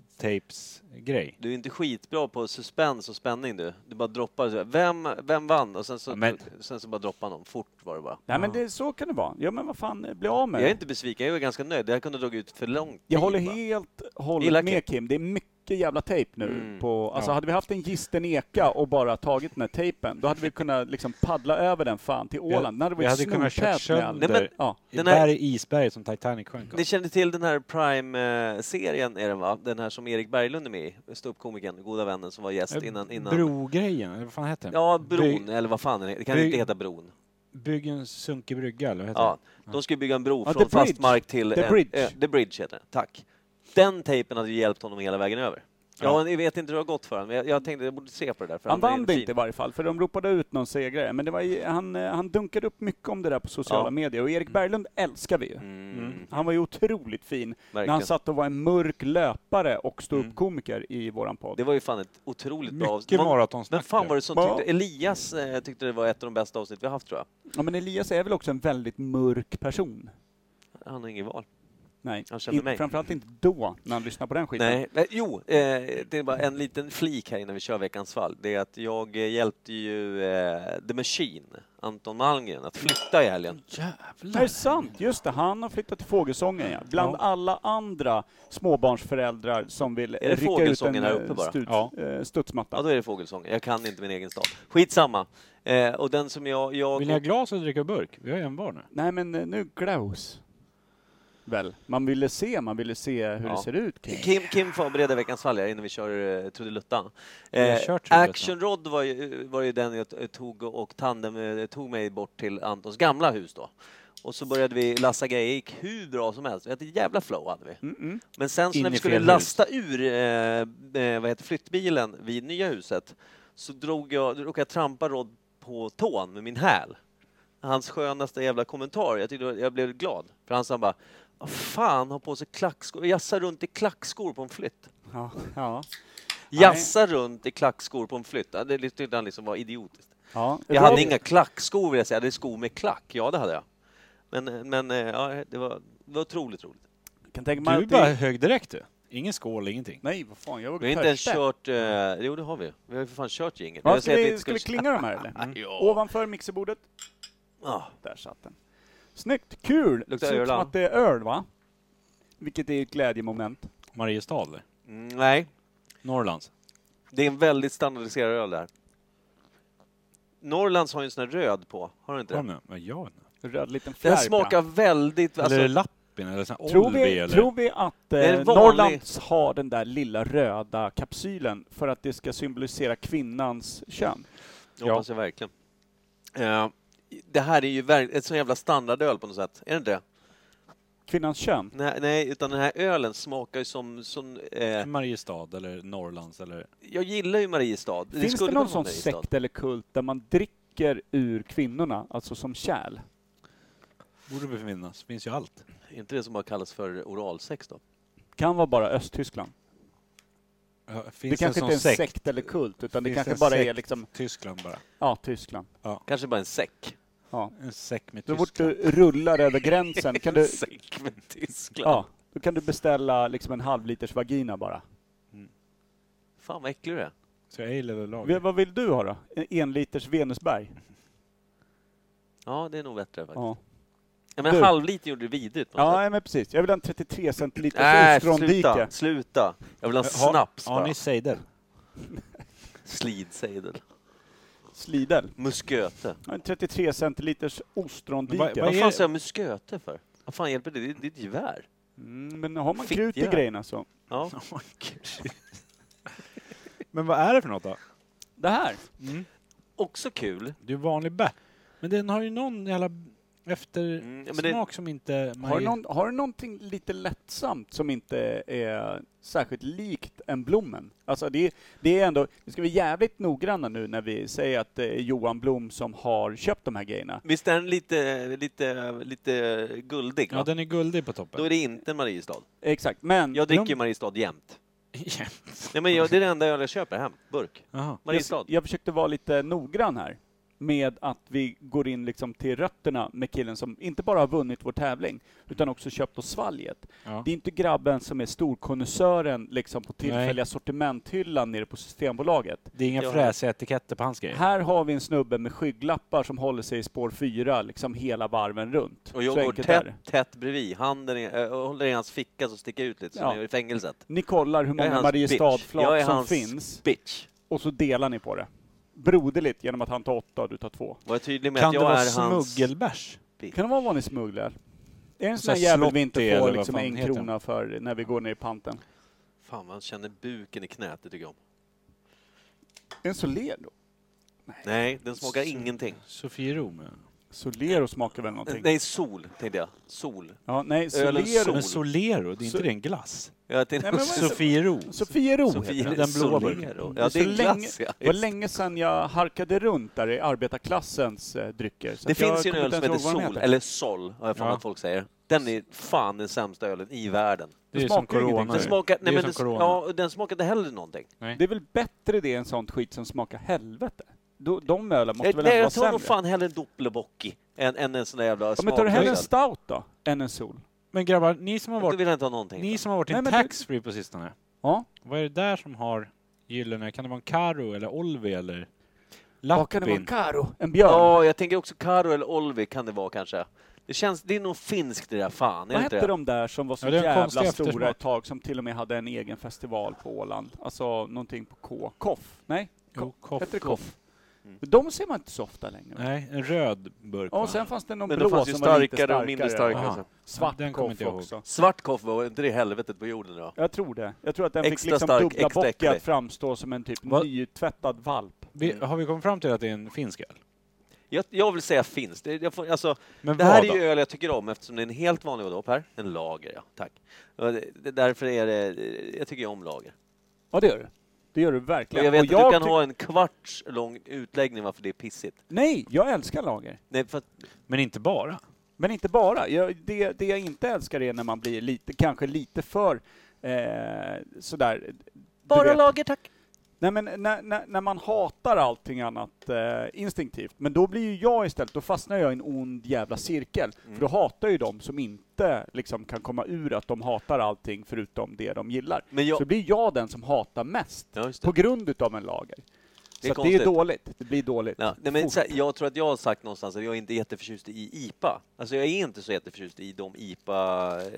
[SPEAKER 3] gymtejpsgrej.
[SPEAKER 1] Du är inte skitbra på suspens och spänning du. Du bara droppar så här, vem, vem vann? Och sen så,
[SPEAKER 3] Ja, men-
[SPEAKER 1] sen så bara droppar någon. Fort var det bara.
[SPEAKER 2] Nej men det, så kan det vara. Ja men vad fan, eh, bli av med
[SPEAKER 1] Jag är
[SPEAKER 2] det.
[SPEAKER 1] inte besviken, jag är ganska nöjd. Det här kunde ha dragit ut för långt.
[SPEAKER 2] Jag håller helt hållet
[SPEAKER 1] Gillar
[SPEAKER 2] med Kim. Det är mycket jävla tejp nu.
[SPEAKER 1] Mm.
[SPEAKER 2] På, alltså
[SPEAKER 3] Ja.
[SPEAKER 2] hade vi haft en gisten eka och bara tagit den här tejpen, då hade vi kunnat liksom paddla över den fan till
[SPEAKER 3] Vi
[SPEAKER 2] Åland.
[SPEAKER 3] hade-
[SPEAKER 2] Den hade
[SPEAKER 3] vi hade
[SPEAKER 2] varit
[SPEAKER 3] kunnat kört
[SPEAKER 2] snortät med all...
[SPEAKER 1] Nej,
[SPEAKER 3] sönder
[SPEAKER 1] men-
[SPEAKER 2] Ja.
[SPEAKER 3] i
[SPEAKER 1] Den här-
[SPEAKER 3] berg, isberget som Titanic sjönk av.
[SPEAKER 1] Ni känner till den här Prime-serien är den va? Den här som Erik Berglund är med i, ståuppkomikern, goda vännen som var gäst
[SPEAKER 2] Eh,
[SPEAKER 1] innan... innan...
[SPEAKER 3] Eh, Brogrejen, eller vad fan heter den?
[SPEAKER 1] Ja,
[SPEAKER 3] Bry-
[SPEAKER 1] Bron, eller vad fan den heter. Det kan
[SPEAKER 3] Bry-
[SPEAKER 1] inte heta Bron.
[SPEAKER 3] Bygg en sunkig brygga, eller vad heter
[SPEAKER 1] Ja,
[SPEAKER 3] det?
[SPEAKER 1] de skulle bygga en bro
[SPEAKER 2] Ja,
[SPEAKER 1] från
[SPEAKER 2] The Bridge.
[SPEAKER 1] fast mark till...
[SPEAKER 2] The
[SPEAKER 1] en-
[SPEAKER 2] Bridge.
[SPEAKER 1] ö, The Bridge heter den, tack. Den tejpen hade ju hjälpt honom hela vägen över. Ja,
[SPEAKER 3] Ja.
[SPEAKER 1] Jag vet inte hur det har gått för honom, men jag, jag tänkte jag borde se på det där. För
[SPEAKER 2] Han
[SPEAKER 1] är
[SPEAKER 2] vann det
[SPEAKER 1] fin.
[SPEAKER 2] inte i varje fall, för de ropade ut någon segrare. Men det var, ju- han, eh, han dunkade upp mycket om det där på sociala
[SPEAKER 1] Ja.
[SPEAKER 2] medier. Och Erik Berglund älskar vi ju.
[SPEAKER 1] Mm,
[SPEAKER 3] Mm.
[SPEAKER 2] Han var ju otroligt fin när
[SPEAKER 1] verkligen.
[SPEAKER 2] han satt och var en mörk löpare och ståuppkomiker i våran podd.
[SPEAKER 1] Mm. Det var ju fan ett otroligt bra
[SPEAKER 3] Mycket
[SPEAKER 1] Man-
[SPEAKER 3] maratonsnack.
[SPEAKER 1] Men fan var det som
[SPEAKER 2] Ja.
[SPEAKER 1] tyckte... Elias eh, tyckte det var ett av de bästa avsnitt vi haft tror jag.
[SPEAKER 2] Ja, men Elias är väl också en väldigt mörk person?
[SPEAKER 1] Han har inget val.
[SPEAKER 2] Nej,
[SPEAKER 1] Han känner
[SPEAKER 2] in-
[SPEAKER 1] mig.
[SPEAKER 2] framförallt inte då, när han lyssnar på den skiten.
[SPEAKER 1] Nej, men, jo, eh, det är bara en liten flik här innan vi kör veckans fall. Det är att jag eh, hjälpte ju eh, The Machine, Anton Malmgren, att flytta i helgen.
[SPEAKER 2] Det är sant! Just det, han har flyttat till Fågelsången ja. Bland alla andra småbarnsföräldrar som vill
[SPEAKER 1] det
[SPEAKER 2] rycka ut en
[SPEAKER 1] Fågelsången här
[SPEAKER 2] eh,
[SPEAKER 1] uppe bara? Alltså-
[SPEAKER 2] stut,
[SPEAKER 3] Ja.
[SPEAKER 2] eh,
[SPEAKER 1] Ja,
[SPEAKER 2] studsmatta.
[SPEAKER 1] då är det fågelsång. Jag kan inte min egen stad. Skitsamma. Eh, och den som jag... jag
[SPEAKER 3] Vill ni ha glas eller dricka burk? Vi har en var nu.
[SPEAKER 2] Nej men eh, nu glaus. Väl, man ville se, man ville se hur
[SPEAKER 1] Ja.
[SPEAKER 2] det ser ut kring.
[SPEAKER 1] Kim, Kim förbereder veckans fall här innan vi kör eh, trudelutta.
[SPEAKER 3] har
[SPEAKER 1] Eh,
[SPEAKER 3] kört trudelutta.
[SPEAKER 1] Action Rod var ju, var ju den jag t- tog och tandem, eh, tog mig bort till Antons gamla hus då. Och så började vi lassa grejer, gick hur bra som helst. Vi hade ett jävla flow hade vi.
[SPEAKER 2] Mm-mm.
[SPEAKER 1] Men sen så
[SPEAKER 3] In
[SPEAKER 1] när vi
[SPEAKER 3] i
[SPEAKER 1] skulle
[SPEAKER 3] fel hus.
[SPEAKER 1] lasta ur eh, eh, vad heter flyttbilen vid nya huset så drog jag, råkade jag trampa Rod på tån med min häl. Hans skönaste jävla kommentar, jag, tyckte, jag blev glad. För han sa bara vad fan har på sig klackskor, jassa runt i klackskor på en flytt.
[SPEAKER 2] Ja, ja.
[SPEAKER 1] Jassa runt i klackskor på en flytt, Ja, det tyckte han liksom var idiotiskt.
[SPEAKER 2] ja.
[SPEAKER 1] Jag hade inga klackskor vill jag säga, det är skor med klack, ja det hade jag. Men, men eh, ja, det, var, det var otroligt roligt.
[SPEAKER 2] Kan tänka mig
[SPEAKER 3] Du är
[SPEAKER 2] att det...
[SPEAKER 3] bara hög direkt du. Ingen skål, ingenting.
[SPEAKER 2] Nej, vad fan, jag var
[SPEAKER 1] Vi har inte ens
[SPEAKER 2] törstig.
[SPEAKER 1] kört... Eh, jo, det har vi. Vi har ju för fan kört jingeln.
[SPEAKER 2] Ja,
[SPEAKER 1] Jag
[SPEAKER 2] ska
[SPEAKER 1] säger att
[SPEAKER 2] vi,
[SPEAKER 1] inte
[SPEAKER 2] ska vi
[SPEAKER 1] skulle- Mm.
[SPEAKER 2] klinga de här eller? Mm.
[SPEAKER 1] Ja.
[SPEAKER 2] Ovanför mixerbordet.
[SPEAKER 1] Ja. Ah.
[SPEAKER 2] Där satt den. Snyggt, kul!
[SPEAKER 1] Luktar
[SPEAKER 2] Ser ut
[SPEAKER 1] öl,
[SPEAKER 2] som
[SPEAKER 1] va?
[SPEAKER 2] att det är öl va? Vilket är ett glädjemoment.
[SPEAKER 3] Mariestad eller?
[SPEAKER 1] Mm, nej,
[SPEAKER 3] Norrlands?
[SPEAKER 1] det är en väldigt standardiserad öl där. Norrlands har ju en sån här röd på, har du inte
[SPEAKER 3] Har
[SPEAKER 1] det?
[SPEAKER 3] de det? Men jag vet inte.
[SPEAKER 2] En Röd liten
[SPEAKER 1] Den
[SPEAKER 2] flärpa.
[SPEAKER 1] smakar väldigt...
[SPEAKER 3] eller är det
[SPEAKER 1] Alltså,
[SPEAKER 3] Lappin eller sån här
[SPEAKER 2] Tror
[SPEAKER 3] Olvi
[SPEAKER 2] vi,
[SPEAKER 3] eller?
[SPEAKER 2] tror vi att
[SPEAKER 1] är
[SPEAKER 2] eh,
[SPEAKER 1] en vanlig-
[SPEAKER 2] Norrlands har den där lilla röda kapsylen för att det ska symbolisera kvinnans kön?
[SPEAKER 1] jag hoppas jag verkligen. Eh, det här är ju verk- ett sån jävla standardöl på något sätt, är det inte det?
[SPEAKER 2] Kvinnans kön?
[SPEAKER 1] Nej, nej, utan den här ölen smakar ju som... som eh,
[SPEAKER 3] Mariestad eller Norrlands eller?
[SPEAKER 1] jag gillar ju Mariestad. Det
[SPEAKER 2] Finns
[SPEAKER 1] skulle
[SPEAKER 2] det
[SPEAKER 1] kunna
[SPEAKER 2] någon
[SPEAKER 1] vara
[SPEAKER 2] sån
[SPEAKER 1] Mariestad.
[SPEAKER 2] sekt eller kult där man dricker ur kvinnorna, alltså som kärl?
[SPEAKER 3] Borde befinnas. Finns ju allt.
[SPEAKER 1] Är inte det som bara kallas för oralsex då?
[SPEAKER 2] Kan vara bara Östtyskland.
[SPEAKER 3] Ja, finns
[SPEAKER 2] Det kanske
[SPEAKER 3] en
[SPEAKER 2] inte är en
[SPEAKER 3] sån
[SPEAKER 2] sekt, eller kult, utan det
[SPEAKER 3] Finns
[SPEAKER 2] kanske
[SPEAKER 3] en
[SPEAKER 2] bara
[SPEAKER 3] sekt?
[SPEAKER 2] är liksom,
[SPEAKER 3] Tyskland bara.
[SPEAKER 2] ja, Tyskland.
[SPEAKER 1] Kanske bara en säck?
[SPEAKER 2] Ja.
[SPEAKER 3] En säck med
[SPEAKER 2] Så fort
[SPEAKER 3] Tyskland.
[SPEAKER 2] du rullar över gränsen kan du,
[SPEAKER 1] En säck med Tyskland?
[SPEAKER 2] ja, då kan du beställa liksom en halv liters vagina bara.
[SPEAKER 1] Fan vad äcklig du är.
[SPEAKER 3] Så jag gillar det
[SPEAKER 2] V-
[SPEAKER 3] laget.
[SPEAKER 2] Vad vill du ha då? En, en liters Venusberg?
[SPEAKER 1] Ja, det är nog bättre faktiskt.
[SPEAKER 2] Ja.
[SPEAKER 1] Ja, men
[SPEAKER 2] Du.
[SPEAKER 1] en halv liter gjorde det vidrigt. på något
[SPEAKER 2] ja, men precis. Jag vill ha en 33 centiliters
[SPEAKER 3] Äh,
[SPEAKER 1] Nej,
[SPEAKER 2] ostrondike.
[SPEAKER 1] Äh, sluta, sluta. Jag vill ha en
[SPEAKER 3] Har-
[SPEAKER 1] snaps
[SPEAKER 3] Har
[SPEAKER 1] bara.
[SPEAKER 3] ni sejdel?
[SPEAKER 1] Slidsejdel.
[SPEAKER 2] Slidel.
[SPEAKER 1] Musköte.
[SPEAKER 2] Ja, En 33 centiliters
[SPEAKER 3] Men vad-
[SPEAKER 2] ostrondike.
[SPEAKER 3] vad
[SPEAKER 1] Vad
[SPEAKER 3] är-
[SPEAKER 1] fan säger jag musköte för? Vad fan hjälper det? Det är, det är ett gevär.
[SPEAKER 2] Mm, men har man krut i
[SPEAKER 1] Fittgevär.
[SPEAKER 2] grejerna så.
[SPEAKER 1] Ja.
[SPEAKER 3] Men vad är det för något då?
[SPEAKER 2] Det här?
[SPEAKER 3] Mm.
[SPEAKER 1] Också kul.
[SPEAKER 3] Det är ju vanlig bär. Men den har ju någon jävla
[SPEAKER 1] Mm,
[SPEAKER 3] eftersmak
[SPEAKER 1] men det-
[SPEAKER 3] som inte... man
[SPEAKER 2] Har
[SPEAKER 3] ju-
[SPEAKER 2] du, någon, har du någonting lite lättsamt som inte är särskilt likt en Blommen? Alltså det, det är ändå, vi ska vara jävligt noggranna nu när vi säger att det är Johan Blom som har köpt de här grejerna.
[SPEAKER 1] Visst är den lite, lite, lite guldig? Va?
[SPEAKER 3] Ja, den är guldig på toppen.
[SPEAKER 1] Då är det inte en Mariestad.
[SPEAKER 2] Exakt, men
[SPEAKER 1] Jag dricker ju
[SPEAKER 3] De-
[SPEAKER 1] Mariestad jämt.
[SPEAKER 3] Ja.
[SPEAKER 1] Nej, men jag, det är det enda öl jag köper hem. Burk.
[SPEAKER 3] Jaha.
[SPEAKER 1] Mariestad.
[SPEAKER 2] Jag, jag försökte vara lite noggrann här med att vi går in liksom till rötterna med killen som inte bara har vunnit vår tävling utan också köpt oss svalget.
[SPEAKER 3] Ja.
[SPEAKER 2] Det är inte grabben som är storkonnässören liksom på tillfälliga
[SPEAKER 3] Nej.
[SPEAKER 2] sortimenthyllan nere på Systembolaget.
[SPEAKER 3] Det är inga
[SPEAKER 1] Ja.
[SPEAKER 3] fräsiga etiketter på hans grejer.
[SPEAKER 2] Här har vi en snubbe med skygglappar som håller sig i spår 4 liksom hela varven runt.
[SPEAKER 1] Och jag
[SPEAKER 2] Så
[SPEAKER 1] går
[SPEAKER 2] enkelt är det.
[SPEAKER 1] tätt, tätt bredvid. Handen är, jag håller i hans ficka så sticker jag ut lite, som
[SPEAKER 2] Ja.
[SPEAKER 1] jag gör i fängelset.
[SPEAKER 2] Ni kollar hur
[SPEAKER 1] Jag är
[SPEAKER 2] många
[SPEAKER 1] hans bitch. Jag
[SPEAKER 2] Mariestadflak
[SPEAKER 1] är
[SPEAKER 2] som
[SPEAKER 1] hans-
[SPEAKER 2] finns
[SPEAKER 1] Bitch.
[SPEAKER 2] och så delar ni på det. Broderligt genom att han tar åtta och du tar två.
[SPEAKER 1] Var jag tydlig med
[SPEAKER 3] Kan
[SPEAKER 1] att
[SPEAKER 3] det
[SPEAKER 1] jag
[SPEAKER 3] vara
[SPEAKER 1] är hans...
[SPEAKER 3] smuggelbärs?
[SPEAKER 2] Kan det vara vanlig smugglare? Är det en sån här
[SPEAKER 3] här
[SPEAKER 2] jävel vi
[SPEAKER 3] slottig
[SPEAKER 2] inte
[SPEAKER 3] eller
[SPEAKER 2] får
[SPEAKER 3] vad
[SPEAKER 2] liksom
[SPEAKER 3] fan
[SPEAKER 2] en
[SPEAKER 3] heter den?
[SPEAKER 2] krona för när vi går ner i panten?
[SPEAKER 1] Fan vad han känner buken i knät, det tycker jag om.
[SPEAKER 2] En Solero?
[SPEAKER 1] Nej, den smakar
[SPEAKER 3] Så-
[SPEAKER 1] ingenting.
[SPEAKER 3] Sofiero med.
[SPEAKER 2] Solero smakar väl någonting?
[SPEAKER 1] Nej, sol tänkte jag. Sol.
[SPEAKER 2] Ja, nej,
[SPEAKER 1] Ölen
[SPEAKER 2] Solero.
[SPEAKER 1] Sol.
[SPEAKER 3] Men Solero, det är inte
[SPEAKER 2] So-
[SPEAKER 3] det en glass?
[SPEAKER 1] Jag tänkte
[SPEAKER 2] Nej, men vad är det-
[SPEAKER 3] Sofiero.
[SPEAKER 2] Sofiero heter
[SPEAKER 1] Sofie,
[SPEAKER 3] den
[SPEAKER 1] den blå
[SPEAKER 3] blå
[SPEAKER 1] Solero.
[SPEAKER 2] Det
[SPEAKER 1] Ja,
[SPEAKER 2] är
[SPEAKER 1] det är
[SPEAKER 2] så
[SPEAKER 1] en
[SPEAKER 2] länge-
[SPEAKER 1] glass, ja.
[SPEAKER 2] Det var länge sedan jag harkade runt där i arbetarklassens eh, drycker. så
[SPEAKER 1] Det
[SPEAKER 2] att jag
[SPEAKER 1] finns ju en
[SPEAKER 2] kommer
[SPEAKER 1] öl som
[SPEAKER 2] inte
[SPEAKER 1] heter
[SPEAKER 2] ens ihåg vad
[SPEAKER 1] Sol,
[SPEAKER 2] den
[SPEAKER 1] eller Sol, har jag för mig
[SPEAKER 3] Ja.
[SPEAKER 1] att folk säger. Den är fan den sämsta ölen i världen.
[SPEAKER 3] Det är som
[SPEAKER 2] smakar ju
[SPEAKER 3] corona.
[SPEAKER 2] ingenting.
[SPEAKER 1] Den
[SPEAKER 2] Nej.
[SPEAKER 3] ju.
[SPEAKER 1] smakar,
[SPEAKER 3] Det är
[SPEAKER 1] nej, men
[SPEAKER 3] som
[SPEAKER 1] den,
[SPEAKER 3] corona.
[SPEAKER 1] ja, och den smakade heller någonting.
[SPEAKER 2] Det är väl bättre det än sånt skit som smakar helvete? Då- De ölen måste
[SPEAKER 1] Jag,
[SPEAKER 2] väl
[SPEAKER 1] Eh, nej,
[SPEAKER 2] ändå
[SPEAKER 1] jag
[SPEAKER 2] vara
[SPEAKER 1] tar
[SPEAKER 2] sämre?
[SPEAKER 1] nog fan hellre en Doppelbocki än, än en sån där jävla
[SPEAKER 2] Ja, men tar du hellre en
[SPEAKER 1] smaklös.
[SPEAKER 2] stout då, än en sol?
[SPEAKER 3] Men grabbar, ni som har
[SPEAKER 1] Då
[SPEAKER 3] varit,
[SPEAKER 1] vill jag inte ha någonting.
[SPEAKER 3] ni som har varit
[SPEAKER 2] Nej,
[SPEAKER 3] in
[SPEAKER 2] men det-
[SPEAKER 3] taxfree på sistone.
[SPEAKER 2] Ja.
[SPEAKER 3] Vad är det där som har gyllene? Kan det vara en Karo eller Olvi eller
[SPEAKER 2] Vad kan det vara?
[SPEAKER 3] Lappin?
[SPEAKER 2] Karo? En björn?
[SPEAKER 1] Ja, jag tänker också Karo eller Olvi kan det vara kanske. Det känns, det är nog finskt det där fan, är
[SPEAKER 2] Vad
[SPEAKER 1] det inte
[SPEAKER 2] hette
[SPEAKER 1] det?
[SPEAKER 2] de där som var så
[SPEAKER 3] Ja, det är en
[SPEAKER 2] jävla
[SPEAKER 3] konstig
[SPEAKER 2] stora
[SPEAKER 3] eftersmak.
[SPEAKER 2] ett tag, som till och med hade en egen festival på Åland? Alltså, någonting på K. Koff? Nej?
[SPEAKER 3] Jo,
[SPEAKER 2] Hette det
[SPEAKER 3] Koff.
[SPEAKER 2] Koff?
[SPEAKER 1] Mm.
[SPEAKER 2] De ser man inte så ofta längre.
[SPEAKER 3] Nej, en röd burk.
[SPEAKER 2] Ja,
[SPEAKER 3] va?
[SPEAKER 2] och sen fanns det någon
[SPEAKER 1] Men
[SPEAKER 2] blå
[SPEAKER 1] de fanns ju
[SPEAKER 2] som var
[SPEAKER 1] starkare,
[SPEAKER 2] lite starkare
[SPEAKER 1] och mindre starka.
[SPEAKER 3] Aha.
[SPEAKER 1] alltså.
[SPEAKER 2] Svart
[SPEAKER 3] Den kommer
[SPEAKER 2] Koff
[SPEAKER 3] inte jag ihåg.
[SPEAKER 2] också.
[SPEAKER 1] Svart koffe, var inte det helvetet på jorden då?
[SPEAKER 2] Jag tror det. Jag tror att den fick
[SPEAKER 1] Extra
[SPEAKER 2] liksom
[SPEAKER 1] stark,
[SPEAKER 2] dubbla
[SPEAKER 1] extra
[SPEAKER 2] bock i att
[SPEAKER 1] äcklig.
[SPEAKER 2] framstå som en typ
[SPEAKER 3] Vad?
[SPEAKER 2] nytvättad valp.
[SPEAKER 3] Vi, har vi kommit fram till att det är en finsk öl?
[SPEAKER 1] Jag, jag vill säga finns. Det, jag får, alltså,
[SPEAKER 3] Men
[SPEAKER 1] det här
[SPEAKER 3] vad
[SPEAKER 1] är ju
[SPEAKER 3] då?
[SPEAKER 1] öl jag tycker om eftersom det är en helt vanlig Odopp här. En lager, ja. Tack. Och det- det- Därför är det... Jag tycker ju om lager.
[SPEAKER 2] Ja, det gör du. Det gör du
[SPEAKER 1] Och
[SPEAKER 2] verkligen.
[SPEAKER 1] jag vet
[SPEAKER 2] Och
[SPEAKER 1] att du kan
[SPEAKER 2] ty-
[SPEAKER 1] ha en kvarts lång utläggning varför det är pissigt.
[SPEAKER 2] Nej, jag älskar lager.
[SPEAKER 1] Nej, för att,
[SPEAKER 3] Men inte bara.
[SPEAKER 2] Men inte bara. Jag, det, det jag inte älskar är när man blir lite, kanske lite för eh, sådär... du
[SPEAKER 1] bara
[SPEAKER 2] vet.
[SPEAKER 1] lager, tack!
[SPEAKER 2] Nej, men när, när, när man hatar allting annat eh, instinktivt, men då blir ju jag istället, då fastnar jag i en ond jävla cirkel.
[SPEAKER 1] Mm.
[SPEAKER 2] För då hatar ju de som inte liksom kan komma ur att de hatar allting förutom det de gillar.
[SPEAKER 1] Men
[SPEAKER 2] Så
[SPEAKER 1] jag...
[SPEAKER 2] blir jag den som hatar mest.
[SPEAKER 1] Ja, just
[SPEAKER 2] på
[SPEAKER 1] det.
[SPEAKER 2] grund utav en lager.
[SPEAKER 1] Det
[SPEAKER 2] Så
[SPEAKER 1] är
[SPEAKER 2] att det är
[SPEAKER 1] konstigt.
[SPEAKER 2] dåligt. Det blir dåligt.
[SPEAKER 1] Ja, nej, men
[SPEAKER 2] Fort.
[SPEAKER 1] så här, jag tror att jag har sagt någonstans att jag inte är jätteförtjust i IPA. Alltså jag är inte så jätteförtjust i de IPA... eh,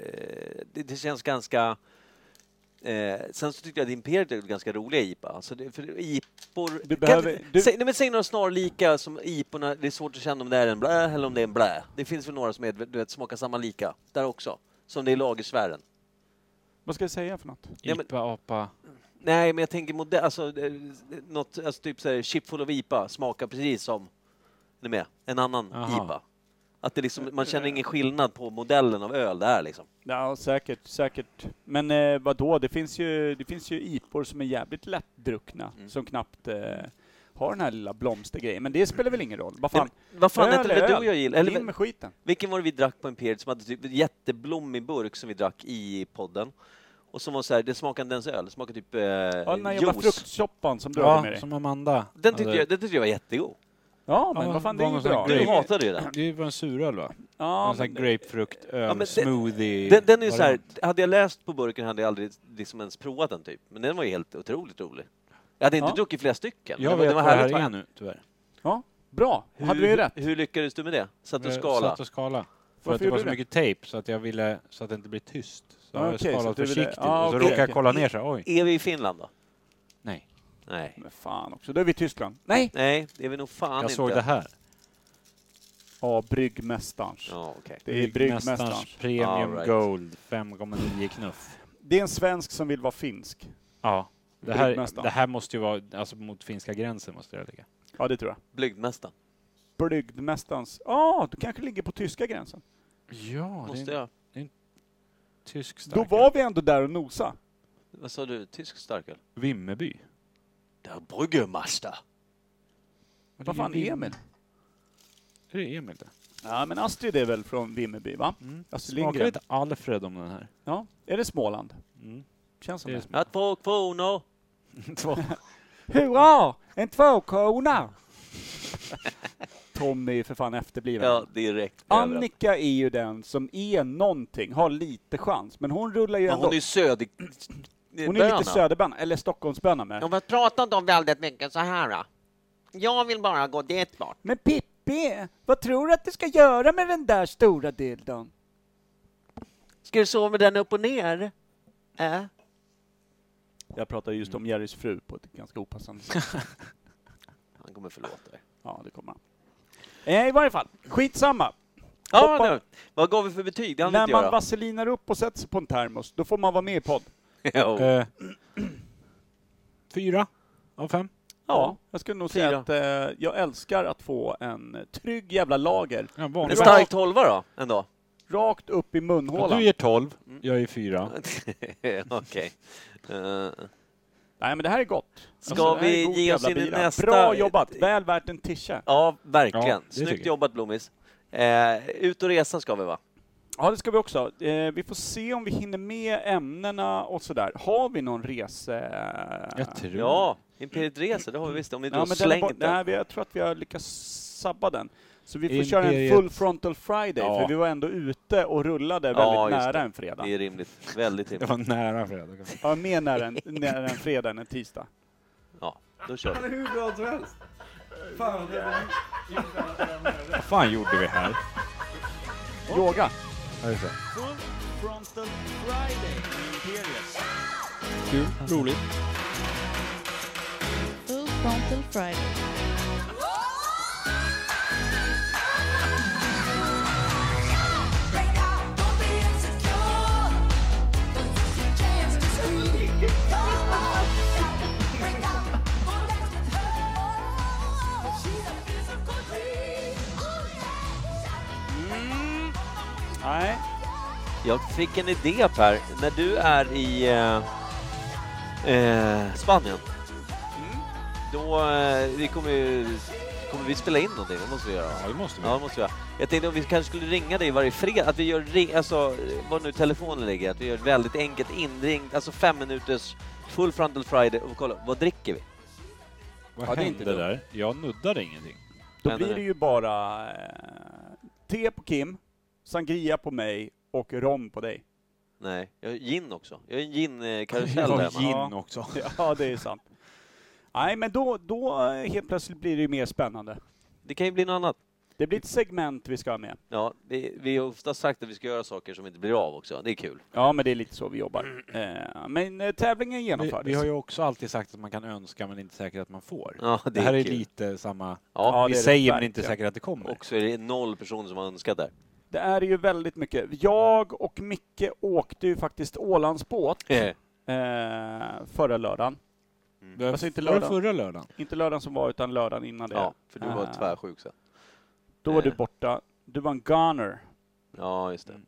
[SPEAKER 1] Det, det känns ganska... Eh, sen så tyckte jag att Imperiet är ganska roliga IPA. Alltså det, för IPor...
[SPEAKER 2] Du behöver-
[SPEAKER 1] kan,
[SPEAKER 2] du-
[SPEAKER 1] säg, nej, men säg några snarlika som IPorna, det är svårt att känna om det är en blä eller om det är en blä. Det finns väl några som är, du vet, smakar samma lika, där också. Som det är i lagersfären.
[SPEAKER 2] Vad ska jag säga för något?
[SPEAKER 1] Ja, men-
[SPEAKER 3] IPA, APA.
[SPEAKER 1] Nej, men jag tänker modell, alltså, eh, något, alltså typ så här, chip full of IPA smakar precis som, är ni med? En annan
[SPEAKER 3] Aha.
[SPEAKER 1] IPA. Att det liksom, man känner ingen skillnad på modellen av öl där liksom.
[SPEAKER 2] Ja, säkert, säkert. Men eh, vadå, det finns, ju, det finns ju IPOR som är jävligt lättdruckna,
[SPEAKER 1] Mm.
[SPEAKER 2] som knappt eh, har den här lilla blomstergrejen. Men det spelar väl ingen roll? Vad
[SPEAKER 1] Nej,
[SPEAKER 2] fan,
[SPEAKER 1] men Vad fan
[SPEAKER 2] Öl
[SPEAKER 1] hette
[SPEAKER 2] är
[SPEAKER 1] det du
[SPEAKER 2] öl.
[SPEAKER 1] och jag gillade?
[SPEAKER 2] in
[SPEAKER 1] Eller, Eh,
[SPEAKER 2] med skiten.
[SPEAKER 1] vilken var det vi drack på Imperiet som hade typ en jätteblommig burk som vi drack i podden? Och som var så här, det smakade inte ens öl, det smakade typ eh,
[SPEAKER 2] Ja, den här jävla
[SPEAKER 1] juice.
[SPEAKER 2] fruktsoppan som du hade med
[SPEAKER 3] Ja,
[SPEAKER 2] dig.
[SPEAKER 3] som Amanda.
[SPEAKER 1] Den tyckte,
[SPEAKER 3] hade.
[SPEAKER 1] jag, den tyckte jag var jättegod.
[SPEAKER 2] Ja, men
[SPEAKER 3] Ja,
[SPEAKER 2] vad fan,
[SPEAKER 3] det
[SPEAKER 2] det är
[SPEAKER 3] var
[SPEAKER 2] ju
[SPEAKER 3] någon
[SPEAKER 2] bra.
[SPEAKER 3] sån här
[SPEAKER 1] Du
[SPEAKER 3] grape.
[SPEAKER 1] hatade ju den.
[SPEAKER 3] Det var en suröl va?
[SPEAKER 2] Ja,
[SPEAKER 3] en sån
[SPEAKER 2] men,
[SPEAKER 3] här grapefrukt,
[SPEAKER 1] Ja, men
[SPEAKER 3] öl,
[SPEAKER 1] det-
[SPEAKER 3] smoothie.
[SPEAKER 1] Den, den är ju så här,
[SPEAKER 3] variant.
[SPEAKER 1] hade jag läst på burken hade jag aldrig liksom ens provat den typ. Men den var ju helt otroligt rolig. Jag hade inte
[SPEAKER 2] Ja.
[SPEAKER 1] druckit flera stycken. men
[SPEAKER 3] Jag
[SPEAKER 1] den var-
[SPEAKER 3] vet
[SPEAKER 1] den var
[SPEAKER 3] vad det här
[SPEAKER 1] härligt
[SPEAKER 3] är
[SPEAKER 1] varm.
[SPEAKER 3] nu tyvärr.
[SPEAKER 2] bra,
[SPEAKER 1] Hur,
[SPEAKER 2] hade vi ju rätt.
[SPEAKER 1] hur lyckades du med det? Satt du
[SPEAKER 3] Jag
[SPEAKER 1] skala?
[SPEAKER 3] Eh, Satt och skala. För
[SPEAKER 2] Varför
[SPEAKER 3] att det
[SPEAKER 2] gjorde
[SPEAKER 3] var
[SPEAKER 2] du
[SPEAKER 3] så
[SPEAKER 2] det?
[SPEAKER 3] mycket tejp så att jag ville så att det inte blir tyst. Så
[SPEAKER 2] Ah,
[SPEAKER 3] jag
[SPEAKER 2] okej, så
[SPEAKER 3] skalade
[SPEAKER 2] att du ville-
[SPEAKER 3] försiktigt.
[SPEAKER 2] ah,
[SPEAKER 3] och så
[SPEAKER 2] okej,
[SPEAKER 3] råkade jag
[SPEAKER 2] okej.
[SPEAKER 3] kolla ner så här, oj.
[SPEAKER 1] Är vi i Finland då?
[SPEAKER 3] Nej.
[SPEAKER 1] Nej.
[SPEAKER 2] Men fan också, då är vi i Tyskland. Nej!
[SPEAKER 1] Nej, det är vi nog fan
[SPEAKER 3] Jag
[SPEAKER 1] inte.
[SPEAKER 3] såg det här.
[SPEAKER 2] Ja, bryggmästarens.
[SPEAKER 1] Ja, okej.
[SPEAKER 2] Det är bryggmästarens.
[SPEAKER 3] Bryggmästarens Premium
[SPEAKER 1] All right.
[SPEAKER 3] Gold 5,9 knuff.
[SPEAKER 2] Det är en svensk som vill vara finsk.
[SPEAKER 3] Ja. Det här,
[SPEAKER 2] Bryggmästaren.
[SPEAKER 3] det här måste ju vara alltså, mot finska gränsen måste det ligga.
[SPEAKER 2] Ja, det tror jag.
[SPEAKER 1] Blygdmästaren.
[SPEAKER 2] Bryggmästarens. Ja, du kanske ligger på tyska gränsen.
[SPEAKER 3] Ja,
[SPEAKER 1] Måste jag?
[SPEAKER 3] tysk
[SPEAKER 2] Då var vi ändå där och nosa.
[SPEAKER 1] Vad sa du? Tysk starköl?
[SPEAKER 3] Vimmerby.
[SPEAKER 1] Der Brüggemaster.
[SPEAKER 2] Vad fan är Emil?
[SPEAKER 3] Är det Emil det?
[SPEAKER 2] Ja, men Astrid är väl från Vimmerby, va?
[SPEAKER 3] Mm.
[SPEAKER 2] Astrid
[SPEAKER 3] Smakar
[SPEAKER 2] Lindgren.
[SPEAKER 3] lite Alfred om den här.
[SPEAKER 2] Ja. Är det Småland?
[SPEAKER 3] Mm.
[SPEAKER 2] Känns som
[SPEAKER 3] Det är
[SPEAKER 2] det.
[SPEAKER 3] Småland.
[SPEAKER 1] Att två kronor.
[SPEAKER 3] Två.
[SPEAKER 2] Hurra! En tvåkrona! Tommy är ju för fan efterbliven.
[SPEAKER 1] Ja, direkt. Överallt.
[SPEAKER 2] Annika är ju den som är någonting, har lite chans, men hon rullar ju
[SPEAKER 1] Men
[SPEAKER 2] ändå.
[SPEAKER 1] hon är ju söder...
[SPEAKER 2] hon är lite söderbönna, eller Stockholmsbönna med.
[SPEAKER 8] De har pratat om väldigt mycket så här. då. Jag vill bara gå dit bort.
[SPEAKER 2] Men Pippi, vad tror du att du ska göra med den där stora dildon?
[SPEAKER 1] Ska du sova med den upp och ner? Äh?
[SPEAKER 2] Jag pratade just om Jerrys fru på ett ganska opassande sätt.
[SPEAKER 1] Han kommer förlåta dig.
[SPEAKER 2] Ja, det kommer han. Eh, I varje fall, skitsamma.
[SPEAKER 1] Ja,
[SPEAKER 2] Hoppa-
[SPEAKER 1] nu. Vad gav vi för betyg? Det hann vi
[SPEAKER 2] När
[SPEAKER 1] inte
[SPEAKER 2] man
[SPEAKER 1] göra.
[SPEAKER 2] vaselinar upp och sätter sig på en termos, då får man vara med i podd. Oh.
[SPEAKER 1] Jo.
[SPEAKER 3] Eh, fyra av fem.
[SPEAKER 2] Ja, jag skulle nog säga
[SPEAKER 1] Fyra.
[SPEAKER 2] att eh, jag älskar att få en trygg jävla lager
[SPEAKER 3] Ja,
[SPEAKER 1] En
[SPEAKER 3] vanlig.
[SPEAKER 2] Men
[SPEAKER 1] stark tolva då, ändå?
[SPEAKER 2] rakt upp i munhålan.
[SPEAKER 3] Du ger tolv,
[SPEAKER 1] Mm.
[SPEAKER 3] jag ger fyra.
[SPEAKER 1] Okej. Eh,
[SPEAKER 2] Nej, men det här är gott.
[SPEAKER 1] Ska
[SPEAKER 2] Alltså, det här är
[SPEAKER 1] vi
[SPEAKER 2] god
[SPEAKER 1] ge oss
[SPEAKER 2] jävla
[SPEAKER 1] in i
[SPEAKER 2] bira.
[SPEAKER 1] nästa-
[SPEAKER 2] Bra jobbat, väl värt en tisha.
[SPEAKER 1] ja, verkligen.
[SPEAKER 3] Ja, det tycker
[SPEAKER 1] Snyggt
[SPEAKER 3] jag.
[SPEAKER 1] jobbat, Blommis. Eh, ut och resa ska vi, va?
[SPEAKER 2] Ja, det ska vi också. Eh, vi får se om vi hinner med ämnena och sådär. Har vi någon rese...
[SPEAKER 3] Jag tror...
[SPEAKER 1] Ja, Imperiet Reser, det har vi visst. Om vi inte
[SPEAKER 2] Ja,
[SPEAKER 1] har
[SPEAKER 2] men den är bort...
[SPEAKER 1] slängt den.
[SPEAKER 2] Nej, vi- jag tror att vi har lyckats sabba den. Så vi får
[SPEAKER 3] Imperiet-
[SPEAKER 2] köra en full frontal friday,
[SPEAKER 3] Ja.
[SPEAKER 2] för vi var ändå ute och rullade väldigt
[SPEAKER 1] Ja, just
[SPEAKER 2] nära
[SPEAKER 1] det.
[SPEAKER 2] en fredag.
[SPEAKER 1] Det är rimligt. Väldigt
[SPEAKER 3] Det
[SPEAKER 1] rimligt.
[SPEAKER 3] var nära fredag.
[SPEAKER 2] Ja, mer nära en, nära en fredag än en tisdag.
[SPEAKER 1] Ja, då kör vi.
[SPEAKER 3] Vad fan gjorde vi här?
[SPEAKER 2] Yoga.
[SPEAKER 3] Ja, just det.
[SPEAKER 2] Frontal Friday. Imperiet.
[SPEAKER 3] Kul, roligt.
[SPEAKER 7] Full frontal friday.
[SPEAKER 2] Mm. Nej.
[SPEAKER 1] Jag fick en idé, Per. När du är i eh, eh, Spanien, då eh, vi kommer, ju- kommer vi spela in någonting. Det måste vi göra. va?
[SPEAKER 3] Ja, det måste vi.
[SPEAKER 1] Ja, det måste vi göra. Jag tänkte om vi kanske skulle ringa dig varje fredag, att vi gör, re- alltså, eh, var nu telefonen ligger, att vi gör ett väldigt enkelt inring, alltså fem minuters full frontal friday och kolla, vad dricker vi?
[SPEAKER 3] Vad
[SPEAKER 2] Ja, det är
[SPEAKER 3] hände
[SPEAKER 2] inte dumt.
[SPEAKER 3] där? Jag nuddade ingenting.
[SPEAKER 2] Då
[SPEAKER 1] Händer
[SPEAKER 2] blir
[SPEAKER 1] det.
[SPEAKER 2] det ju bara eh, te på Kim, sangria på mig och rom på dig.
[SPEAKER 1] Nej, jag har gin också. Jag har en gin-karusell
[SPEAKER 3] Jag
[SPEAKER 1] där
[SPEAKER 3] har
[SPEAKER 1] hemma.
[SPEAKER 2] gin.
[SPEAKER 3] gin också.
[SPEAKER 2] Ja, det är sant. Nej, men då, då eh, helt plötsligt blir det ju mer spännande.
[SPEAKER 1] Det kan ju bli något annat.
[SPEAKER 2] Det blir ett segment vi ska ha med.
[SPEAKER 1] Ja, vi, vi har ofta sagt att vi ska göra saker som inte blir av också. Det är kul.
[SPEAKER 2] Ja, men det är lite så vi jobbar. Eh, men eh, tävlingen
[SPEAKER 3] Vi,
[SPEAKER 2] genomfördes.
[SPEAKER 3] vi har ju också alltid sagt att man kan önska men inte säkert att man får.
[SPEAKER 1] Ja, det,
[SPEAKER 3] det, här är
[SPEAKER 1] kul.
[SPEAKER 3] lite samma.
[SPEAKER 1] Ja,
[SPEAKER 2] Ja,
[SPEAKER 3] vi
[SPEAKER 2] det är det
[SPEAKER 3] säger men inte
[SPEAKER 2] verkligen.
[SPEAKER 3] säkert att det kommer.
[SPEAKER 1] och så är det noll personer som har önskat där.
[SPEAKER 2] Det är ju väldigt mycket. Jag och Micke åkte ju faktiskt Ålandsbåt eh, förra lördagen.
[SPEAKER 3] Det var-
[SPEAKER 2] Alltså inte
[SPEAKER 3] var det
[SPEAKER 2] lördagen.
[SPEAKER 3] förra lördagen.
[SPEAKER 2] Inte lördagen som var, utan lördagen innan det.
[SPEAKER 1] Ja, för du var
[SPEAKER 2] Ah.
[SPEAKER 1] tvärsjuk sen.
[SPEAKER 2] Då var du
[SPEAKER 1] eh.
[SPEAKER 2] borta. Du var en goner.
[SPEAKER 1] Ja, just det.
[SPEAKER 2] Var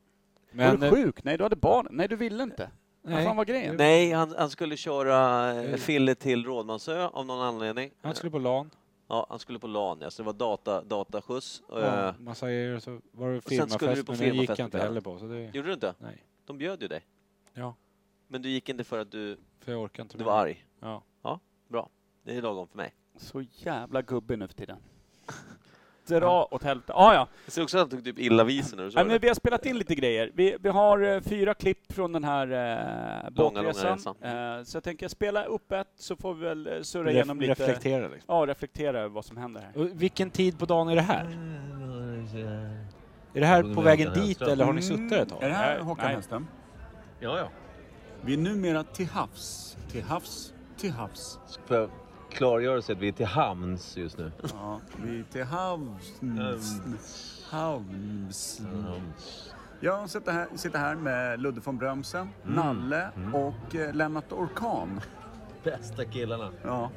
[SPEAKER 3] Men,
[SPEAKER 2] du
[SPEAKER 3] eh,
[SPEAKER 2] sjuk? Nej, du hade barn. Nej, du ville inte. Vad fan var grejen?
[SPEAKER 1] Nej, han, han skulle köra eh,
[SPEAKER 3] Mm.
[SPEAKER 1] Fille till Rådmansö av någon anledning.
[SPEAKER 3] Han skulle på LAN,
[SPEAKER 1] Ja, han skulle på LAN, ja, så det var data, dataskjuts.
[SPEAKER 3] ja,
[SPEAKER 1] Eh,
[SPEAKER 3] massa grejer och så var det
[SPEAKER 1] skulle du
[SPEAKER 3] firmafest,
[SPEAKER 1] på
[SPEAKER 3] men det gick
[SPEAKER 1] firmafest
[SPEAKER 3] jag inte
[SPEAKER 1] på
[SPEAKER 3] heller på. Så det,
[SPEAKER 1] Gjorde du inte?
[SPEAKER 3] nej,
[SPEAKER 1] De bjöd ju dig.
[SPEAKER 3] Ja.
[SPEAKER 1] Men du gick inte för att du,
[SPEAKER 3] för jag orkar inte.
[SPEAKER 1] du
[SPEAKER 3] mer.
[SPEAKER 1] var arg.
[SPEAKER 3] Ja.
[SPEAKER 1] Det är lagom för mig.
[SPEAKER 2] Så jävla gubbe nu för tiden. Dra åt helvete. Ah, ja,
[SPEAKER 1] Jag ser också att han tog typ illa vid sig när du sa
[SPEAKER 2] Nej, men
[SPEAKER 1] det.
[SPEAKER 2] vi har spelat in lite grejer. Vi, vi har eh, fyra klipp från den här
[SPEAKER 1] Långa,
[SPEAKER 2] eh,
[SPEAKER 1] långa
[SPEAKER 2] båtresan. Eh, så jag tänker spela upp ett så får vi väl eh, surra igenom
[SPEAKER 3] Ref-
[SPEAKER 2] lite.
[SPEAKER 3] Reflektera liksom.
[SPEAKER 2] Ja, reflektera över vad som händer här.
[SPEAKER 3] Och vilken tid på dagen är det här? Är det här på vägen dit eller har ni suttit ett
[SPEAKER 9] Mm. Är det
[SPEAKER 3] tag?
[SPEAKER 9] här
[SPEAKER 2] Nej,
[SPEAKER 9] Håkan
[SPEAKER 2] nej.
[SPEAKER 9] Hellström?
[SPEAKER 10] Ja, ja.
[SPEAKER 9] Vi är numera till havs, till havs, till havs.
[SPEAKER 10] Får jag klargöra så att vi är till hamns just nu?
[SPEAKER 9] Ja, vi är till havs, havs. Jag sitter här, sitter här med Ludde von Brömsen,
[SPEAKER 3] Mm.
[SPEAKER 9] Nalle och eh, Lennart Orkan.
[SPEAKER 10] Bästa killarna.
[SPEAKER 9] Ja,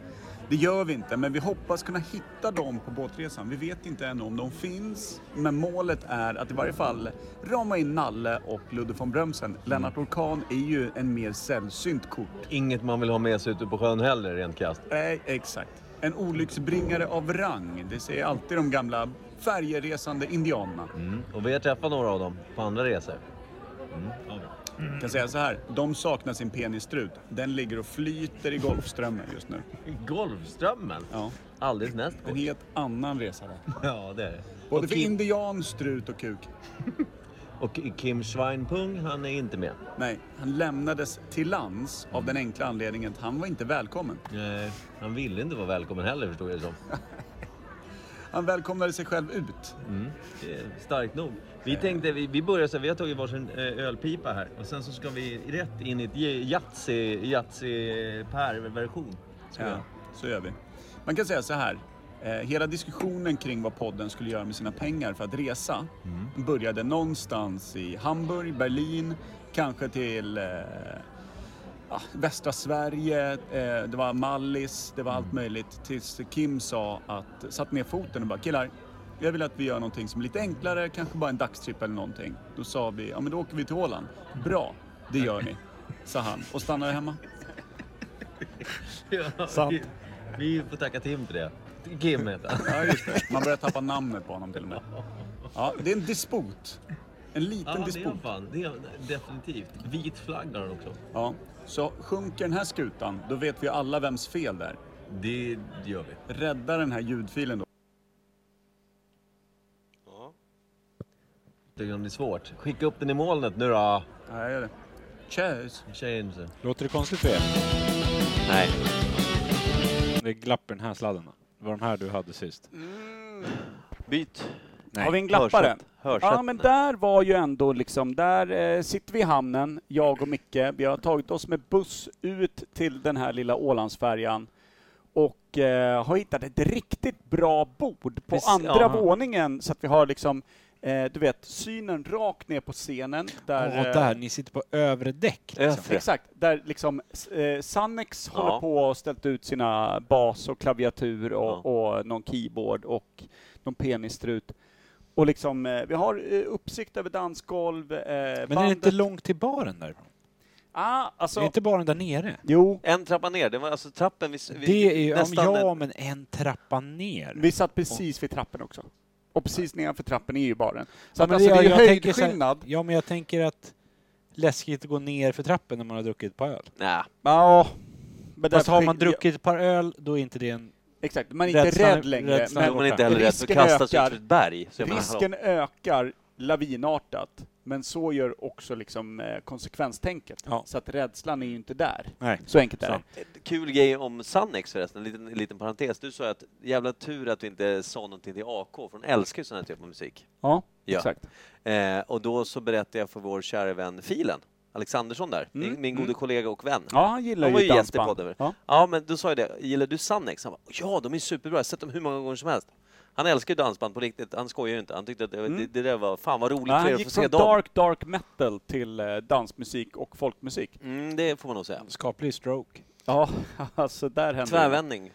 [SPEAKER 9] det gör vi inte, men vi hoppas kunna hitta dem på båtresan. Vi vet inte ännu om de finns, men målet är att i varje fall rama in Nalle och Ludde von
[SPEAKER 10] Mm.
[SPEAKER 9] Brömsen. Lennart Orkan är ju en mer sällsynt kort.
[SPEAKER 10] Inget man vill ha med sig ute på sjön heller, rent krasst.
[SPEAKER 9] Nej, exakt. En olycksbringare av rang. Det säger alltid de gamla färjeresande indianerna.
[SPEAKER 10] Mm. Och vi har träffat några av dem på andra resor.
[SPEAKER 9] Jag kan säga så här, de saknar sin penisstrut. Den ligger och flyter i Golfströmmen just nu.
[SPEAKER 10] Golfströmmen?
[SPEAKER 9] Ja.
[SPEAKER 10] Alldeles näst
[SPEAKER 9] En helt annan resa där.
[SPEAKER 10] Ja, det är det.
[SPEAKER 9] Både
[SPEAKER 10] Och,
[SPEAKER 9] för
[SPEAKER 10] Kim,
[SPEAKER 9] indian, strut och kuk.
[SPEAKER 10] och Kim Schweinpung, han är inte med.
[SPEAKER 9] Nej, han lämnades till lands av den enkla anledningen att han var inte välkommen.
[SPEAKER 10] Nej, Eh, han ville inte vara välkommen heller, förstod jag det som.
[SPEAKER 9] Han välkomnade sig själv ut.
[SPEAKER 10] Mm. Det är starkt nog. Vi tänkte, vi, vi börjar så här, vi har tagit varsin eh, ölpipa här och sen så ska vi rätt in i ett j- Yatzy, Yatzy-Per-version. ska vi
[SPEAKER 9] Ja,
[SPEAKER 10] göra.
[SPEAKER 9] så gör vi. Man kan säga så här. Eh, hela diskussionen kring vad podden skulle göra med sina pengar för att resa började någonstans i Hamburg, Berlin, kanske till eh, ah, västra Sverige. Eh, det var Mallis, det var allt möjligt. Tills Kim sa att, satt ner foten och bara killar, jag vill att vi gör någonting som är lite enklare, kanske bara en dagstripp eller någonting. Då sa vi, ja men då åker vi till Åland. Bra, det gör ni, sa han och stannade hemma.
[SPEAKER 10] Ja,
[SPEAKER 3] Sant.
[SPEAKER 10] Vi, vi får tacka Tim för det. Kim heter han.
[SPEAKER 9] Ja, just det. Man börjar tappa namnet på honom till och med. Ja, det är en disput. En liten
[SPEAKER 10] Ja, det är han
[SPEAKER 9] disput.
[SPEAKER 10] fan. Det är han definitivt. Vit flagg har han också.
[SPEAKER 9] Ja. Så sjunker den här skutan, då vet vi alla vems fel det är.
[SPEAKER 10] Det gör vi.
[SPEAKER 9] Rädda den här ljudfilen då.
[SPEAKER 10] Tycker om det är svårt. Skicka upp den i molnet nu då.
[SPEAKER 9] Ja, gör det. Cheers!
[SPEAKER 10] Change.
[SPEAKER 3] Låter det konstigt för er?
[SPEAKER 1] Nej.
[SPEAKER 3] Det är glapp i den här sladden. va? Det var de här du hade sist.
[SPEAKER 1] Byt.
[SPEAKER 3] Nej.
[SPEAKER 2] Har vi en glappare?
[SPEAKER 1] Hörsätt. Hörsätt.
[SPEAKER 2] Ja, men där var ju ändå liksom, där eh, sitter vi i hamnen, jag och Micke. Vi har tagit oss med buss ut till den här lilla Ålandsfärjan och eh, har hittat ett riktigt bra bord på
[SPEAKER 1] Precis,
[SPEAKER 2] andra
[SPEAKER 1] ja.
[SPEAKER 2] våningen så att vi har liksom, eh, du vet, synen rakt ner på scenen. Där,
[SPEAKER 3] Där,
[SPEAKER 2] eh,
[SPEAKER 3] där, ni sitter på övre däck. Liksom.
[SPEAKER 1] Övre.
[SPEAKER 2] Exakt, där liksom s- eh, Sannex
[SPEAKER 1] Ja.
[SPEAKER 2] håller på och ställt ut sina bas och klaviatur och, och någon keyboard och någon penisstrut. Och liksom, eh, vi har eh, uppsikt över dansgolv, eh,
[SPEAKER 3] Men är det inte långt till baren där?
[SPEAKER 2] ah, alltså,
[SPEAKER 3] Är det inte baren där nere?
[SPEAKER 2] Jo,
[SPEAKER 1] En trappa ner, det var alltså trappen vi... vi
[SPEAKER 3] Det är ju, ja, men
[SPEAKER 1] nästan
[SPEAKER 3] ja
[SPEAKER 1] en-
[SPEAKER 3] men en trappa ner.
[SPEAKER 2] vi satt precis vid trappen också. Och precis nedanför trappen är ju baren. Så
[SPEAKER 3] Ja,
[SPEAKER 2] att,
[SPEAKER 3] men
[SPEAKER 2] alltså, det är ju
[SPEAKER 3] jag tänker så här-
[SPEAKER 2] höjdskillnad.
[SPEAKER 3] Ja, men jag tänker att läskigt att gå ner för trappen när man har druckit ett par öl.
[SPEAKER 1] Nej,
[SPEAKER 2] Ja, men
[SPEAKER 3] Fast
[SPEAKER 2] därför-
[SPEAKER 3] har man druckit ett par öl, då är inte det en...
[SPEAKER 2] Exakt, man är inte
[SPEAKER 3] Rädslan-
[SPEAKER 2] rädd längre.
[SPEAKER 1] men
[SPEAKER 3] rädslan
[SPEAKER 2] men
[SPEAKER 1] om man inte heller är rädd för att
[SPEAKER 2] risken
[SPEAKER 1] kastas ut
[SPEAKER 2] ökar.
[SPEAKER 1] för ett berg. Så jag menar, hallå.
[SPEAKER 2] Risken ökar lavinartat. Men så gör också liksom eh, konsekvenstänket.
[SPEAKER 3] Ja.
[SPEAKER 2] Så att rädslan är ju inte där.
[SPEAKER 3] Nej.
[SPEAKER 2] Så enkelt är det.
[SPEAKER 3] Sant.
[SPEAKER 1] Ett Kul grej om Sannex förresten, en liten, en liten parentes. Du sa att jävla tur att vi inte sa någonting till AK, för hon älskar ju sån här typ av musik.
[SPEAKER 2] Ja,
[SPEAKER 1] Ja.
[SPEAKER 2] exakt.
[SPEAKER 1] Eh, och då så berättade jag för vår kära vän Filen, Alexandersson där,
[SPEAKER 2] Mm,
[SPEAKER 1] min, min
[SPEAKER 2] mm.
[SPEAKER 1] gode kollega och vän.
[SPEAKER 2] Ja, han gillar
[SPEAKER 1] Han var
[SPEAKER 2] ju
[SPEAKER 1] ju gäst i
[SPEAKER 2] dansband.
[SPEAKER 1] podden.
[SPEAKER 2] Ja.
[SPEAKER 1] Ja, men då sa jag det, gillar du Sannex? Han bara, ja de är superbra, jag har sett dem hur många gånger som helst. Han älskar ju dansband på riktigt, han skojar ju inte. Han tyckte att det, var-
[SPEAKER 2] Mm.
[SPEAKER 1] det, det där var, fan vad roligt
[SPEAKER 2] Ja,
[SPEAKER 1] för er
[SPEAKER 2] han
[SPEAKER 1] att få
[SPEAKER 2] gick
[SPEAKER 1] se
[SPEAKER 2] från
[SPEAKER 1] dem.
[SPEAKER 2] dark, dark metal till eh, dansmusik och folkmusik.
[SPEAKER 1] Mm, det får man nog säga.
[SPEAKER 3] Skaplig stroke.
[SPEAKER 2] Ja, alltså där hände
[SPEAKER 1] Tvärvändning.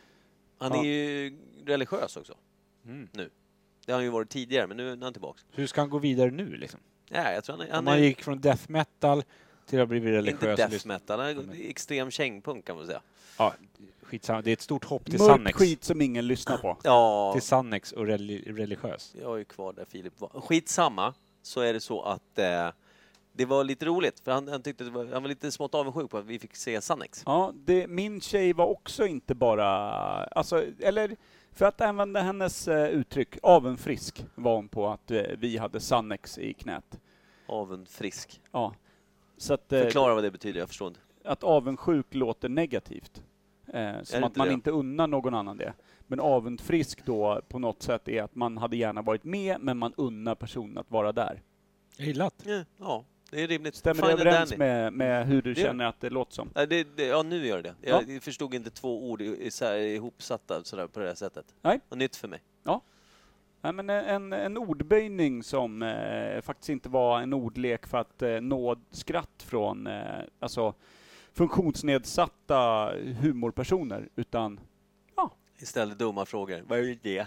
[SPEAKER 1] Han är
[SPEAKER 2] Ja.
[SPEAKER 1] ju religiös också.
[SPEAKER 3] Mm.
[SPEAKER 1] Det har han ju varit tidigare, men nu är han tillbaka.
[SPEAKER 3] Hur ska han gå vidare nu liksom?
[SPEAKER 1] Nej, jag tror han, är-
[SPEAKER 3] Om
[SPEAKER 1] han
[SPEAKER 3] han
[SPEAKER 1] är
[SPEAKER 3] gick från death metal till att bli
[SPEAKER 1] inte
[SPEAKER 3] religiös. och
[SPEAKER 1] death
[SPEAKER 3] lyssna-
[SPEAKER 1] metal, han är extrem kängpunk kan man säga.
[SPEAKER 3] Ja, skitsamma. Det är ett stort hopp till
[SPEAKER 2] det. Mörk
[SPEAKER 3] Sannex.
[SPEAKER 2] skit som ingen lyssnar på.
[SPEAKER 1] Ja,
[SPEAKER 3] Till Sannex och reli- religiös.
[SPEAKER 1] jag är ju kvar där Filip var. Skitsamma, så är det så att eh, det var lite roligt, för han, han tyckte det var, han var lite smått avundsjuk på att vi fick se Sannex.
[SPEAKER 2] Ja, det, min tjej var också inte bara... Alltså, eller för att använda hennes eh, uttryck, avunfrisk var hon på att eh, vi hade Sannex i knät.
[SPEAKER 1] Avundfrisk.
[SPEAKER 2] Ja. Så att, eh,
[SPEAKER 1] Förklara vad det betyder, jag förstår inte.
[SPEAKER 2] att avundsjuk låter negativt. Eh, som
[SPEAKER 1] det
[SPEAKER 2] att
[SPEAKER 1] inte
[SPEAKER 2] man
[SPEAKER 1] det?
[SPEAKER 2] inte unnar någon annan det. Men avundfrisk då på något sätt är att man hade gärna varit med, men man unnar personen att vara där.
[SPEAKER 3] Jag gillar att
[SPEAKER 1] Ja, ja det är rimligt.
[SPEAKER 2] Stämmer det
[SPEAKER 1] Fine and
[SPEAKER 2] överens
[SPEAKER 1] dandy.
[SPEAKER 2] med, med hur du
[SPEAKER 1] Det-
[SPEAKER 2] känner att det låter som?
[SPEAKER 1] Nej, det, det, ja, nu gör det Jag förstod inte två ord i- isär, ihopsatta sådär, på det här sättet.
[SPEAKER 2] Nej.
[SPEAKER 1] Och nytt för mig.
[SPEAKER 2] Nej, men eh, en, en ordböjning som eh, faktiskt inte var en ordlek för att eh, nå skratt från eh, alltså, funktionsnedsatta humorpersoner, utan
[SPEAKER 1] Istället dumma frågor. Vad är det?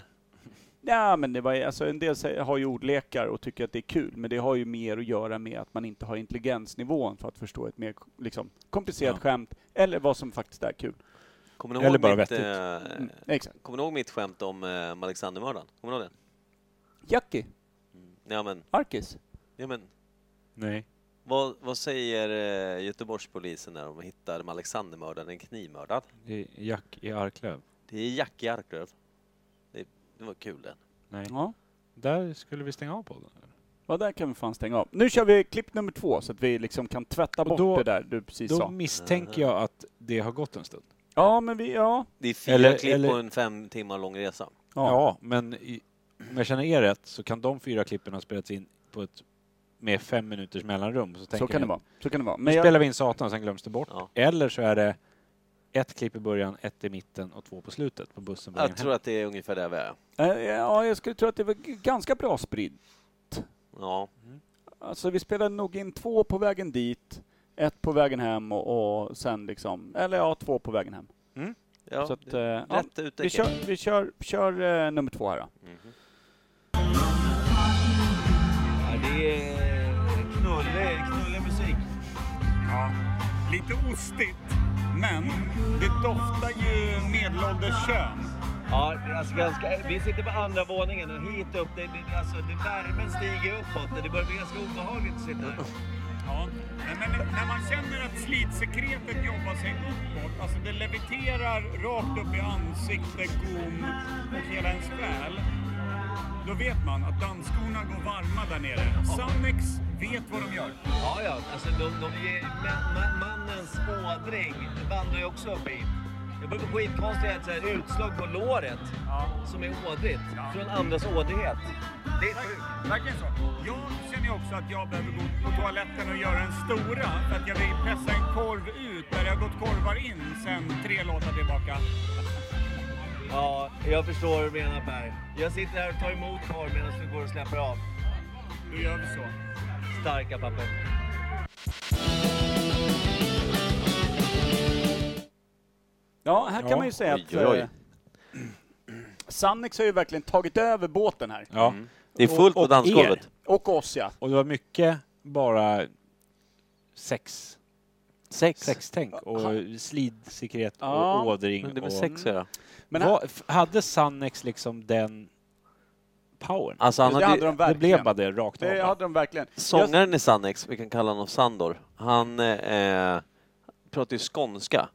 [SPEAKER 2] Ja, men det var, alltså en del säger- har ju ordlekar och tycker att det är kul, men det har ju mer att göra med att man inte har intelligensnivån för att förstå ett mer liksom, komplicerat
[SPEAKER 3] Ja.
[SPEAKER 2] skämt, eller vad som faktiskt är kul.
[SPEAKER 1] Kommer ni
[SPEAKER 3] Eller
[SPEAKER 1] ihåg
[SPEAKER 3] bara
[SPEAKER 1] mitt,
[SPEAKER 3] vettigt.
[SPEAKER 1] eh,
[SPEAKER 2] Mm, exakt.
[SPEAKER 1] Kommer ni ihåg mitt skämt om eh, om Alexandermördaren? Kommer ni ihåg det?
[SPEAKER 2] Jackie,
[SPEAKER 1] Ja men,
[SPEAKER 2] Arkis.
[SPEAKER 1] ja, men
[SPEAKER 3] Nej.
[SPEAKER 1] vad, vad säger eh, Göteborgspolisen när de hittar de Alexandermördaren, en knivmördad?
[SPEAKER 3] Det är Jack i Arklöv.
[SPEAKER 1] Det är Jackie Arklöv. Det, det var kul den.
[SPEAKER 3] Nej.
[SPEAKER 2] Ja.
[SPEAKER 3] Där skulle vi stänga av podden.
[SPEAKER 2] ja, där kan vi fan stänga av. Nu kör vi klipp nummer två, så att vi liksom kan tvätta
[SPEAKER 3] Och
[SPEAKER 2] bort
[SPEAKER 3] då-
[SPEAKER 2] det där du precis
[SPEAKER 3] Då
[SPEAKER 2] sa.
[SPEAKER 3] misstänker jag att det har gått en stund.
[SPEAKER 2] Ja, men vi, ja.
[SPEAKER 1] Det är fyra
[SPEAKER 3] Eller-
[SPEAKER 1] klipp
[SPEAKER 3] eller-
[SPEAKER 1] på en fem timmar lång resa.
[SPEAKER 2] Ja.
[SPEAKER 3] Ja, men i, om jag känner er rätt så kan de fyra klippen ha spelats in på ett, med fem minuters mellanrum. Så,
[SPEAKER 2] Så
[SPEAKER 3] tänker
[SPEAKER 2] kan
[SPEAKER 3] jag,
[SPEAKER 2] det vara. Så kan det vara.
[SPEAKER 3] Nu
[SPEAKER 2] Men jag,
[SPEAKER 3] spelar vi in Satan och sen glöms det bort.
[SPEAKER 1] Ja.
[SPEAKER 3] Eller så är det ett klipp i början, ett i mitten och två på slutet på bussen. på vägen
[SPEAKER 1] Jag
[SPEAKER 3] hem.
[SPEAKER 1] tror att det är ungefär där vi är.
[SPEAKER 2] eh, ja, jag skulle tro att det var g- ganska bra spridd.
[SPEAKER 1] Ja,
[SPEAKER 2] Alltså vi spelade nog in två på vägen dit, ett på vägen hem och, och sen liksom, eller ja, två på vägen hem.
[SPEAKER 1] ja
[SPEAKER 2] Så att,
[SPEAKER 1] det-
[SPEAKER 2] eh, ja,
[SPEAKER 1] rätt ute.
[SPEAKER 2] vi kör, vi kör, kör eh, nummer två här då.
[SPEAKER 1] Mhm.
[SPEAKER 10] det är knullig, knullig musik.
[SPEAKER 9] Lite ostigt, men det doftar ju medelålders kön.
[SPEAKER 10] Ja, alltså ganska, vi sitter på andra våningen och hit upp, det, det, alltså, det värmen stiger uppåt och det börjar bli ganska obehagligt att sitta här.
[SPEAKER 9] Ja. Nej, Men när man känner att slitsekretet jobbar sig uppåt, alltså det leviterar rakt upp i ansikte, gom och hela ens själ. Då vet man att dansskorna går varma där nere. Sannex vet vad de gör.
[SPEAKER 10] Ja, ja, alltså de, de ger, ma, ma, mannens ådring vandrar ju också upp hit. Jag börjar få skitkonstigt att så här utslag på låret som är ådrigt, från andras ådrighet. Det är sjukt.
[SPEAKER 9] Verkligen så. Jag känner ju också att jag behöver gå på toaletten och göra den stora för att jag vill pressa en korv ut där det har gått korvar in sen tre låtar tillbaka.
[SPEAKER 10] Ja, jag förstår vad du menar Per. Jag sitter här och tar emot korv medan du går och släpper av.
[SPEAKER 9] Då gör vi så.
[SPEAKER 10] Starka papper.
[SPEAKER 2] Ja, här
[SPEAKER 3] Ja.
[SPEAKER 2] kan man ju säga
[SPEAKER 1] Oj,
[SPEAKER 2] att
[SPEAKER 1] oj, oj.
[SPEAKER 2] eh, Sannex har ju verkligen tagit över båten här.
[SPEAKER 3] Ja.
[SPEAKER 1] Det är fullt
[SPEAKER 3] Och-
[SPEAKER 1] på
[SPEAKER 3] och
[SPEAKER 1] dansgolvet.
[SPEAKER 3] er.
[SPEAKER 2] Och oss ja.
[SPEAKER 3] Och det var mycket bara sex,
[SPEAKER 1] Sex.
[SPEAKER 3] sextänk och slidsekret
[SPEAKER 2] Ja.
[SPEAKER 3] och ådring.
[SPEAKER 2] Mm,
[SPEAKER 1] Men det är med
[SPEAKER 3] och,
[SPEAKER 1] sex att göra.
[SPEAKER 2] Men
[SPEAKER 3] Vad- f- hade Sannex liksom den powern?
[SPEAKER 1] Alltså han
[SPEAKER 2] det
[SPEAKER 1] hade
[SPEAKER 2] hade
[SPEAKER 1] ju,
[SPEAKER 2] de
[SPEAKER 3] det
[SPEAKER 2] verkligen.
[SPEAKER 3] blev bara det rakt av.
[SPEAKER 2] det
[SPEAKER 3] bara.
[SPEAKER 2] hade de verkligen.
[SPEAKER 1] sångaren i Sannex, vi kan kalla honom Sandor, han eh, pratar ju skånska.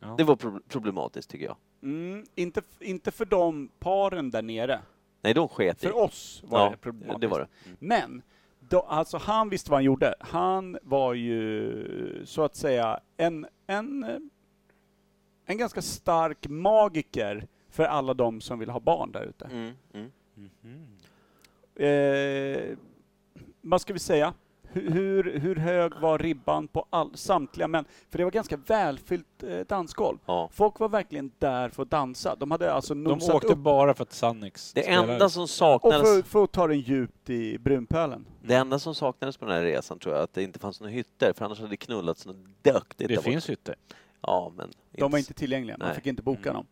[SPEAKER 3] Ja.
[SPEAKER 1] Det var pro- problematiskt tycker jag.
[SPEAKER 2] Mm, inte, f- inte för de paren där nere.
[SPEAKER 1] Nej, de sket i.
[SPEAKER 2] För oss var
[SPEAKER 1] Ja,
[SPEAKER 2] det problematiskt.
[SPEAKER 1] det var det.
[SPEAKER 2] Men då, alltså han visste vad han gjorde. Han var ju så att säga en, en, eh, en ganska stark magiker för alla de som vill ha barn där ute.
[SPEAKER 1] Mm, mm.
[SPEAKER 3] Mhm.
[SPEAKER 2] Eh, vad ska vi säga? Hur- Hur, hur hög var ribban på all, samtliga män? För det var ganska välfyllt eh, dansgolv.
[SPEAKER 1] Ja.
[SPEAKER 2] Folk var verkligen där för att dansa. De hade alltså
[SPEAKER 3] De
[SPEAKER 2] nosat
[SPEAKER 3] åkte
[SPEAKER 2] upp
[SPEAKER 3] bara för att Sannex
[SPEAKER 1] Det
[SPEAKER 3] spelade.
[SPEAKER 1] enda som
[SPEAKER 2] och
[SPEAKER 1] saknades...
[SPEAKER 2] för, för att ta den djupt i brunpölen.
[SPEAKER 1] Det enda som saknades på den här resan tror jag att det inte fanns några hytter för annars hade det knullats något döktigt där
[SPEAKER 3] Det
[SPEAKER 1] borta.
[SPEAKER 3] finns hytter.
[SPEAKER 1] Ja, men...
[SPEAKER 2] De var inte tillgängliga, man
[SPEAKER 1] Nej.
[SPEAKER 2] fick inte boka
[SPEAKER 3] Mm.
[SPEAKER 2] dem.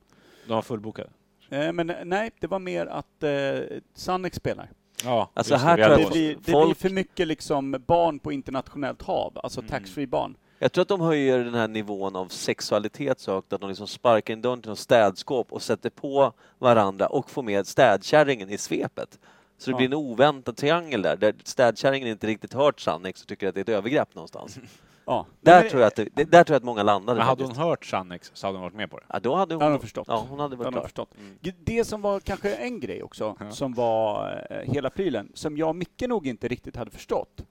[SPEAKER 3] De var fullbokade.
[SPEAKER 2] Eh, men eh, nej, det var mer att eh, Sannex spelar.
[SPEAKER 3] Ja,
[SPEAKER 1] Alltså,
[SPEAKER 3] just
[SPEAKER 1] här
[SPEAKER 3] vi
[SPEAKER 1] tror jag
[SPEAKER 2] Det,
[SPEAKER 3] hade
[SPEAKER 1] att-
[SPEAKER 3] oss.
[SPEAKER 2] blir, det
[SPEAKER 1] folk-
[SPEAKER 2] blir för mycket liksom barn på internationellt hav, alltså
[SPEAKER 3] Mm.
[SPEAKER 2] taxfree barn.
[SPEAKER 1] Jag tror att de höjer den här nivån av sexualitet så högt att de liksom sparkar in dörren till något städskåp och sätter på varandra och får med städkärringen i svepet. Så det
[SPEAKER 2] Ja.
[SPEAKER 1] blir en oväntad triangel där, där städkärringen inte riktigt hört Sannex och tycker att det är ett övergrepp någonstans.
[SPEAKER 2] Ja.
[SPEAKER 1] där, tror jag att det, det, där tror jag att många landade
[SPEAKER 3] Men hade
[SPEAKER 1] faktiskt.
[SPEAKER 3] hon hört Sannex så hade hon varit med på det.
[SPEAKER 1] Ja, då hade hon...
[SPEAKER 2] Det hade hon förstått.
[SPEAKER 1] Ja, hon hade
[SPEAKER 2] Det
[SPEAKER 1] varit
[SPEAKER 2] har de
[SPEAKER 1] klar.
[SPEAKER 2] förstått. G- Det som var kanske en grej också,
[SPEAKER 3] Ja.
[SPEAKER 2] som var eh, hela prylen, som jag och Micke nog inte riktigt hade förstått,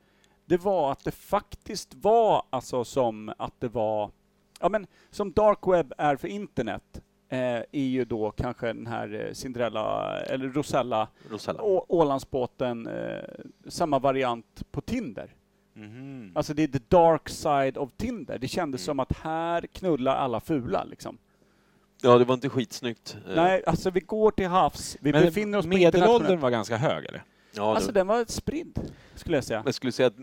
[SPEAKER 2] det var att det faktiskt var alltså som att det var, ja men som dark web är för internet, eh, är ju då kanske den här eh, Cinderella, eller Rosella,
[SPEAKER 1] Rosella.
[SPEAKER 2] Å- Ålandsbåten, eh, samma variant på Tinder.
[SPEAKER 3] Mhm.
[SPEAKER 2] Alltså det är the dark side of Tinder. Det kändes som att här knullar alla fula liksom.
[SPEAKER 1] Ja, det var inte skitsnyggt. Eh,
[SPEAKER 2] Nej, alltså vi går till havs, vi
[SPEAKER 3] Men
[SPEAKER 2] befinner oss på
[SPEAKER 3] medelåldern
[SPEAKER 2] internationellt.
[SPEAKER 3] var ganska hög eller?
[SPEAKER 1] Ja, det-
[SPEAKER 2] Alltså den var spridd, skulle jag säga.
[SPEAKER 1] Jag skulle säga att...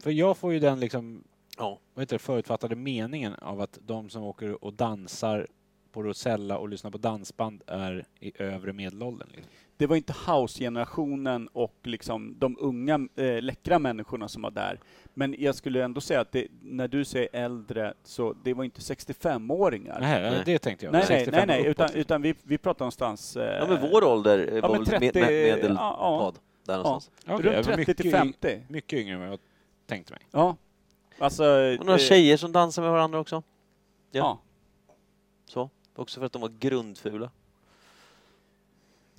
[SPEAKER 3] För jag får ju den liksom,
[SPEAKER 1] Ja.
[SPEAKER 3] vad heter det, förutfattade meningen av att de som åker och dansar på Rosella och lyssnar på dansband är i övre medelåldern. Liksom.
[SPEAKER 2] Det var inte house-generationen och liksom de unga eh, läckra människorna som var där. Men jag skulle ändå säga att det, när du säger äldre, så det var inte 65-åringar.
[SPEAKER 3] Nej,
[SPEAKER 1] Nej.
[SPEAKER 3] det tänkte jag.
[SPEAKER 2] nej, nej,
[SPEAKER 3] 65
[SPEAKER 2] nej,
[SPEAKER 3] och
[SPEAKER 2] nej
[SPEAKER 3] uppåt,
[SPEAKER 2] utan,
[SPEAKER 3] liksom.
[SPEAKER 2] utan vi, vi pratar någonstans... Eh,
[SPEAKER 1] Ja, men vår ålder eh,
[SPEAKER 2] men
[SPEAKER 1] var väl
[SPEAKER 2] 30,
[SPEAKER 1] med, med, medelpad.
[SPEAKER 2] ja,
[SPEAKER 1] Där någonstans.
[SPEAKER 3] Okej, det
[SPEAKER 2] runt
[SPEAKER 3] var
[SPEAKER 2] 30 till
[SPEAKER 3] mycket yng-
[SPEAKER 2] 50.
[SPEAKER 3] Mycket yngre än vad jag tänkte mig.
[SPEAKER 2] Ja. Alltså...
[SPEAKER 1] Och några
[SPEAKER 2] eh,
[SPEAKER 1] tjejer som dansar med varandra också. ja.
[SPEAKER 2] Ja.
[SPEAKER 1] Så. Också för att de var grundfula.
[SPEAKER 3] Mm.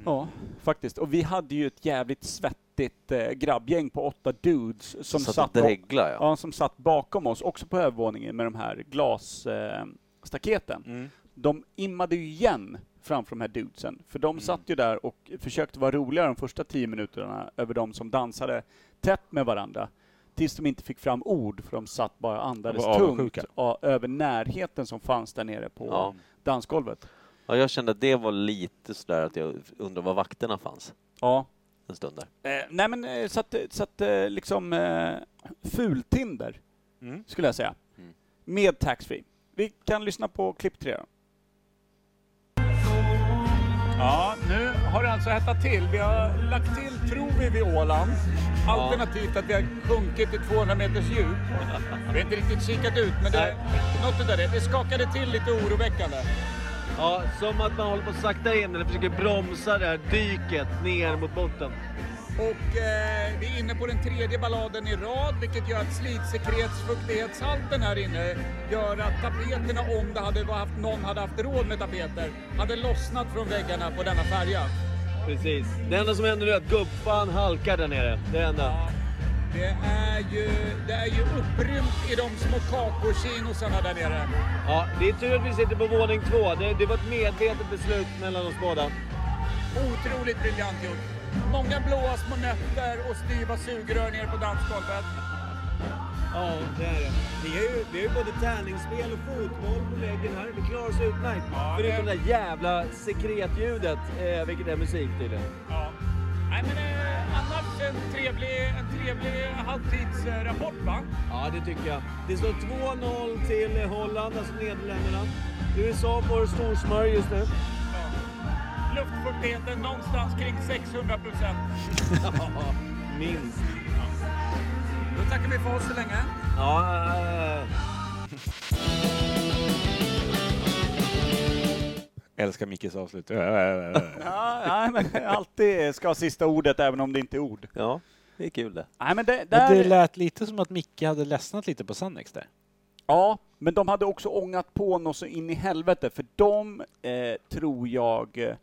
[SPEAKER 2] Ja, faktiskt. Och vi hade ju ett jävligt svettigt eh, grabbgäng på åtta dudes som
[SPEAKER 1] så
[SPEAKER 2] satt,
[SPEAKER 1] att de
[SPEAKER 2] ba-
[SPEAKER 1] dreglar, ja.
[SPEAKER 2] ja, som satt bakom oss, också på övervåningen med de här glastaketen. Eh, staketen. de immade ju igen framför de här dudesen, för de satt ju där och försökte vara roliga de första tio minuterna över de som dansade tätt med varandra. Tills de inte fick fram ord, för de satt bara och andades
[SPEAKER 3] var
[SPEAKER 2] tungt
[SPEAKER 3] avundsjuka.
[SPEAKER 2] ja, över närheten som fanns där nere på
[SPEAKER 1] Ja.
[SPEAKER 2] dansgolvet.
[SPEAKER 1] ja. Jag kände att det var lite sådär att jag undrar var vakterna fanns
[SPEAKER 2] Ja,
[SPEAKER 1] en stund där.
[SPEAKER 2] Eh, nej men eh, så att, så att eh, liksom eh, fultinder
[SPEAKER 3] Mm.
[SPEAKER 2] skulle jag säga.
[SPEAKER 1] Mm.
[SPEAKER 2] Med taxfree. Vi kan lyssna på klipp tre då.
[SPEAKER 9] Ja, nu har det alltså hettat till. Vi har lagt till, tror vi, vid Åland. Alternativt att vi har sjunkit till 200 meters djup. Vi har inte riktigt kikat ut, men det, något utav det. Det skakade till lite oroväckande.
[SPEAKER 10] Ja, som att man håller på att sakta in eller försöker bromsa det här dyket ner mot botten.
[SPEAKER 9] Och eh, vi är inne på den tredje balladen i rad, vilket gör att slitsekretsfuktighetshalten här inne gör att tapeterna, om det hade haft, någon hade haft råd med tapeter, hade lossnat från väggarna på denna färja.
[SPEAKER 10] Precis. Det enda som händer nu är att gubbfan halkar där nere. Det är det enda.
[SPEAKER 9] Det är ju, det är ju upprymt i de små kakokinosarna där nere.
[SPEAKER 10] Ja, det är tur att vi sitter på våning två. Det, det var ett medvetet beslut mellan oss båda.
[SPEAKER 9] Otroligt briljant gjort. Många blåa små nötter och styva sugrör ner på dansgolvet.
[SPEAKER 10] Ja, det är det. Det är ju, det är ju både tärningsspel och fotboll på läggen här. Vi klarar oss utmärkt.
[SPEAKER 9] Ja,
[SPEAKER 10] Förutom
[SPEAKER 9] det-
[SPEAKER 10] det där jävla sekretljudet, eh, vilket är musik tydligen.
[SPEAKER 9] Ja. Nej, men eh, annars en trevlig, en trevlig halvtidsrapport va?
[SPEAKER 10] Ja, det tycker jag. Det står 2-0 till Holland, alltså Nederländerna. USA får storsmör just nu.
[SPEAKER 9] Ja. Luftfuktigheten någonstans kring 600 procent.
[SPEAKER 10] Minst.
[SPEAKER 9] Då tackar vi för oss så länge.
[SPEAKER 10] Ja, eh,
[SPEAKER 3] Älskar Mickes avslut. Äh, äh, äh.
[SPEAKER 2] Ja, nej, men alltid ska ha sista ordet även om det inte är ord.
[SPEAKER 1] Ja, det är kul det.
[SPEAKER 2] Nej men det,
[SPEAKER 3] Men
[SPEAKER 2] där,
[SPEAKER 3] det lät lite som att Micke hade ledsnat lite på Sannex där.
[SPEAKER 2] Ja, men de hade också ångat på något så in i helvete för de eh, tror jag eh,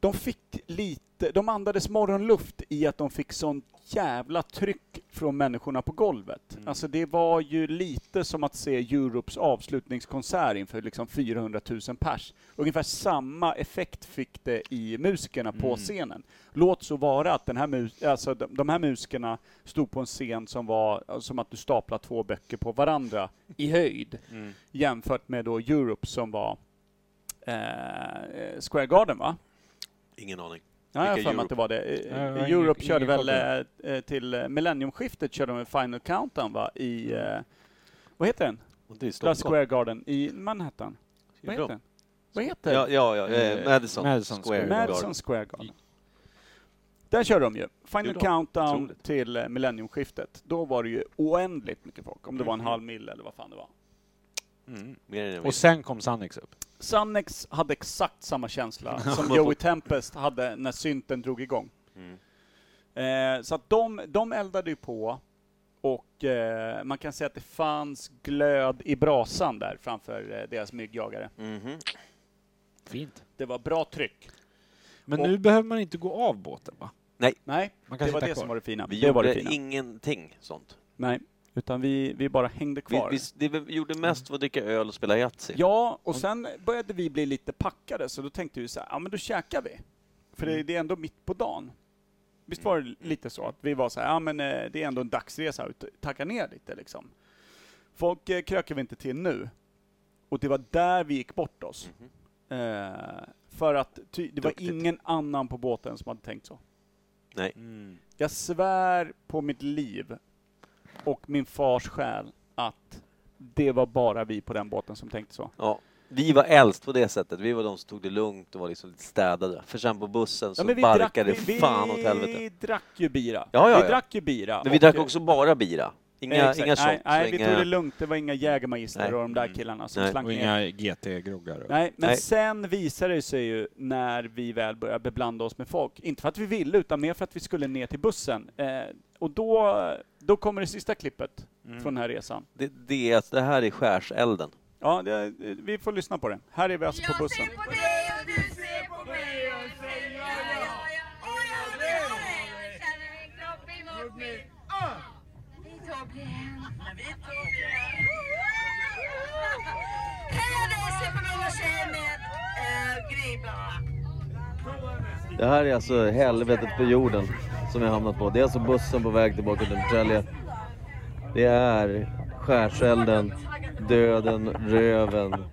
[SPEAKER 2] de fick lite inte, de andades morgonluft i att de fick sånt jävla tryck från människorna på golvet.
[SPEAKER 3] Mm.
[SPEAKER 2] Alltså det var ju lite som att se Europes avslutningskonsert inför liksom 400 000 pers. Ungefär samma effekt fick det i musikerna på
[SPEAKER 3] Mm.
[SPEAKER 2] scenen. Låt så vara att den här mus- alltså de, de här musikerna stod på en scen som var eh, som att du staplar två böcker på varandra i höjd
[SPEAKER 3] Mm.
[SPEAKER 2] jämfört med då Europe som var eh, eh, Square Garden va?
[SPEAKER 1] Ingen aning.
[SPEAKER 2] Ja, jag har
[SPEAKER 1] Vilka
[SPEAKER 2] för mig att det var det.
[SPEAKER 3] Ja, jag
[SPEAKER 2] Eh,
[SPEAKER 3] har
[SPEAKER 2] Europe
[SPEAKER 3] ingen-
[SPEAKER 2] körde
[SPEAKER 3] ingen
[SPEAKER 2] väl
[SPEAKER 3] koll på
[SPEAKER 2] eh, eh, till eh, millenniumskiftet körde de en Final Countdown va? I, eh, vad heter den?
[SPEAKER 1] Och det är
[SPEAKER 2] La
[SPEAKER 1] Mm. Stockholm.
[SPEAKER 2] Square Garden i Manhattan. Vad heter den? Vad heter
[SPEAKER 1] Ja, ja, ja. eh,
[SPEAKER 3] Eh,
[SPEAKER 1] Madison,
[SPEAKER 3] Madison
[SPEAKER 1] Square
[SPEAKER 3] Square
[SPEAKER 1] Garden.
[SPEAKER 2] Madison Square Garden. Där körde de ju. Final
[SPEAKER 1] Gjorde de?
[SPEAKER 2] Countdown
[SPEAKER 1] Otroligt.
[SPEAKER 2] till eh, millenniumskiftet. Då var det ju oändligt mycket folk.
[SPEAKER 1] Mm.
[SPEAKER 2] Om det var en halv mil eller vad fan det var.
[SPEAKER 3] Mm.
[SPEAKER 1] Mer än en
[SPEAKER 3] Och
[SPEAKER 1] viss.
[SPEAKER 3] sen kom Sannex upp.
[SPEAKER 2] Sannex hade exakt samma känsla som Joey Tempest hade när synten drog igång.
[SPEAKER 1] Mm.
[SPEAKER 2] Eh, så att de, de eldade ju på och eh, man kan säga att det fanns glöd i brasan där framför eh, deras myggjagare.
[SPEAKER 1] Mhm.
[SPEAKER 3] Fint.
[SPEAKER 2] Det var bra tryck.
[SPEAKER 3] Men
[SPEAKER 2] Och-
[SPEAKER 3] nu behöver man inte gå av båten va?
[SPEAKER 2] Nej,
[SPEAKER 3] Man kan
[SPEAKER 2] det var
[SPEAKER 3] sitta
[SPEAKER 2] det
[SPEAKER 3] kvar.
[SPEAKER 2] som var det fina.
[SPEAKER 1] Vi
[SPEAKER 2] det var det
[SPEAKER 1] gjorde
[SPEAKER 2] fina.
[SPEAKER 1] ingenting sånt.
[SPEAKER 2] Nej, utan vi, vi bara hängde
[SPEAKER 1] Vi,
[SPEAKER 2] kvar.
[SPEAKER 1] vi, det vi gjorde mest var att dricka öl och spela Yatzy.
[SPEAKER 2] Ja, och sen började vi bli lite packade så då tänkte vi så här, ja men då käkar vi. För det, det är ändå mitt på dagen. Visst var det lite så att vi var så här, ja men eh, det är ändå en dagsresa, ut- tacka ner lite liksom. Folk eh, krökar vi inte till nu. Och det var där vi gick bort oss.
[SPEAKER 1] Mhm.
[SPEAKER 2] Eh, för att ty- det var
[SPEAKER 1] Duktigt.
[SPEAKER 2] ingen annan på båten som hade tänkt så.
[SPEAKER 3] Mm.
[SPEAKER 2] Jag svär på mitt liv och min fars själ att det var bara vi på den båten som tänkte så.
[SPEAKER 1] Ja. Vi var äldst på det sättet. Vi var de som tog det lugnt och var liksom lite städade. För sen på bussen så barkade det fan åt helvete.
[SPEAKER 2] Vi drack ju bira.
[SPEAKER 1] Ja, ja,
[SPEAKER 2] vi
[SPEAKER 1] ja.
[SPEAKER 2] drack ju bira.
[SPEAKER 1] Men vi
[SPEAKER 2] och-
[SPEAKER 1] drack också bara bira.
[SPEAKER 2] Nej,
[SPEAKER 1] Inga,
[SPEAKER 2] exakt.
[SPEAKER 1] inga shots.
[SPEAKER 2] Nej, nej vi
[SPEAKER 1] inga...
[SPEAKER 2] tog det lugnt. Det var inga jägermagister
[SPEAKER 1] Nej.
[SPEAKER 2] och de där
[SPEAKER 3] Mm.
[SPEAKER 2] killarna som
[SPEAKER 1] Nej.
[SPEAKER 2] slank
[SPEAKER 3] Och
[SPEAKER 2] ner.
[SPEAKER 3] inga GT-groggar.
[SPEAKER 2] Nej, men
[SPEAKER 1] Nej.
[SPEAKER 2] sen visade det sig ju när vi väl började beblanda oss med folk, inte för att vi ville utan mer för att vi skulle ner till bussen. Eh, och då, då kommer det sista klippet
[SPEAKER 1] Mm.
[SPEAKER 2] från den här resan.
[SPEAKER 1] Det, det, är att det här är skärselden.
[SPEAKER 2] Ja, det, vi får lyssna på det. Här är vi alltså på bussen. Ah!
[SPEAKER 10] Det här är alltså helvetet på jorden som jag hamnat på. Det är alltså bussen på väg tillbaka till Norrtälje. Det är skärselden, döden, röven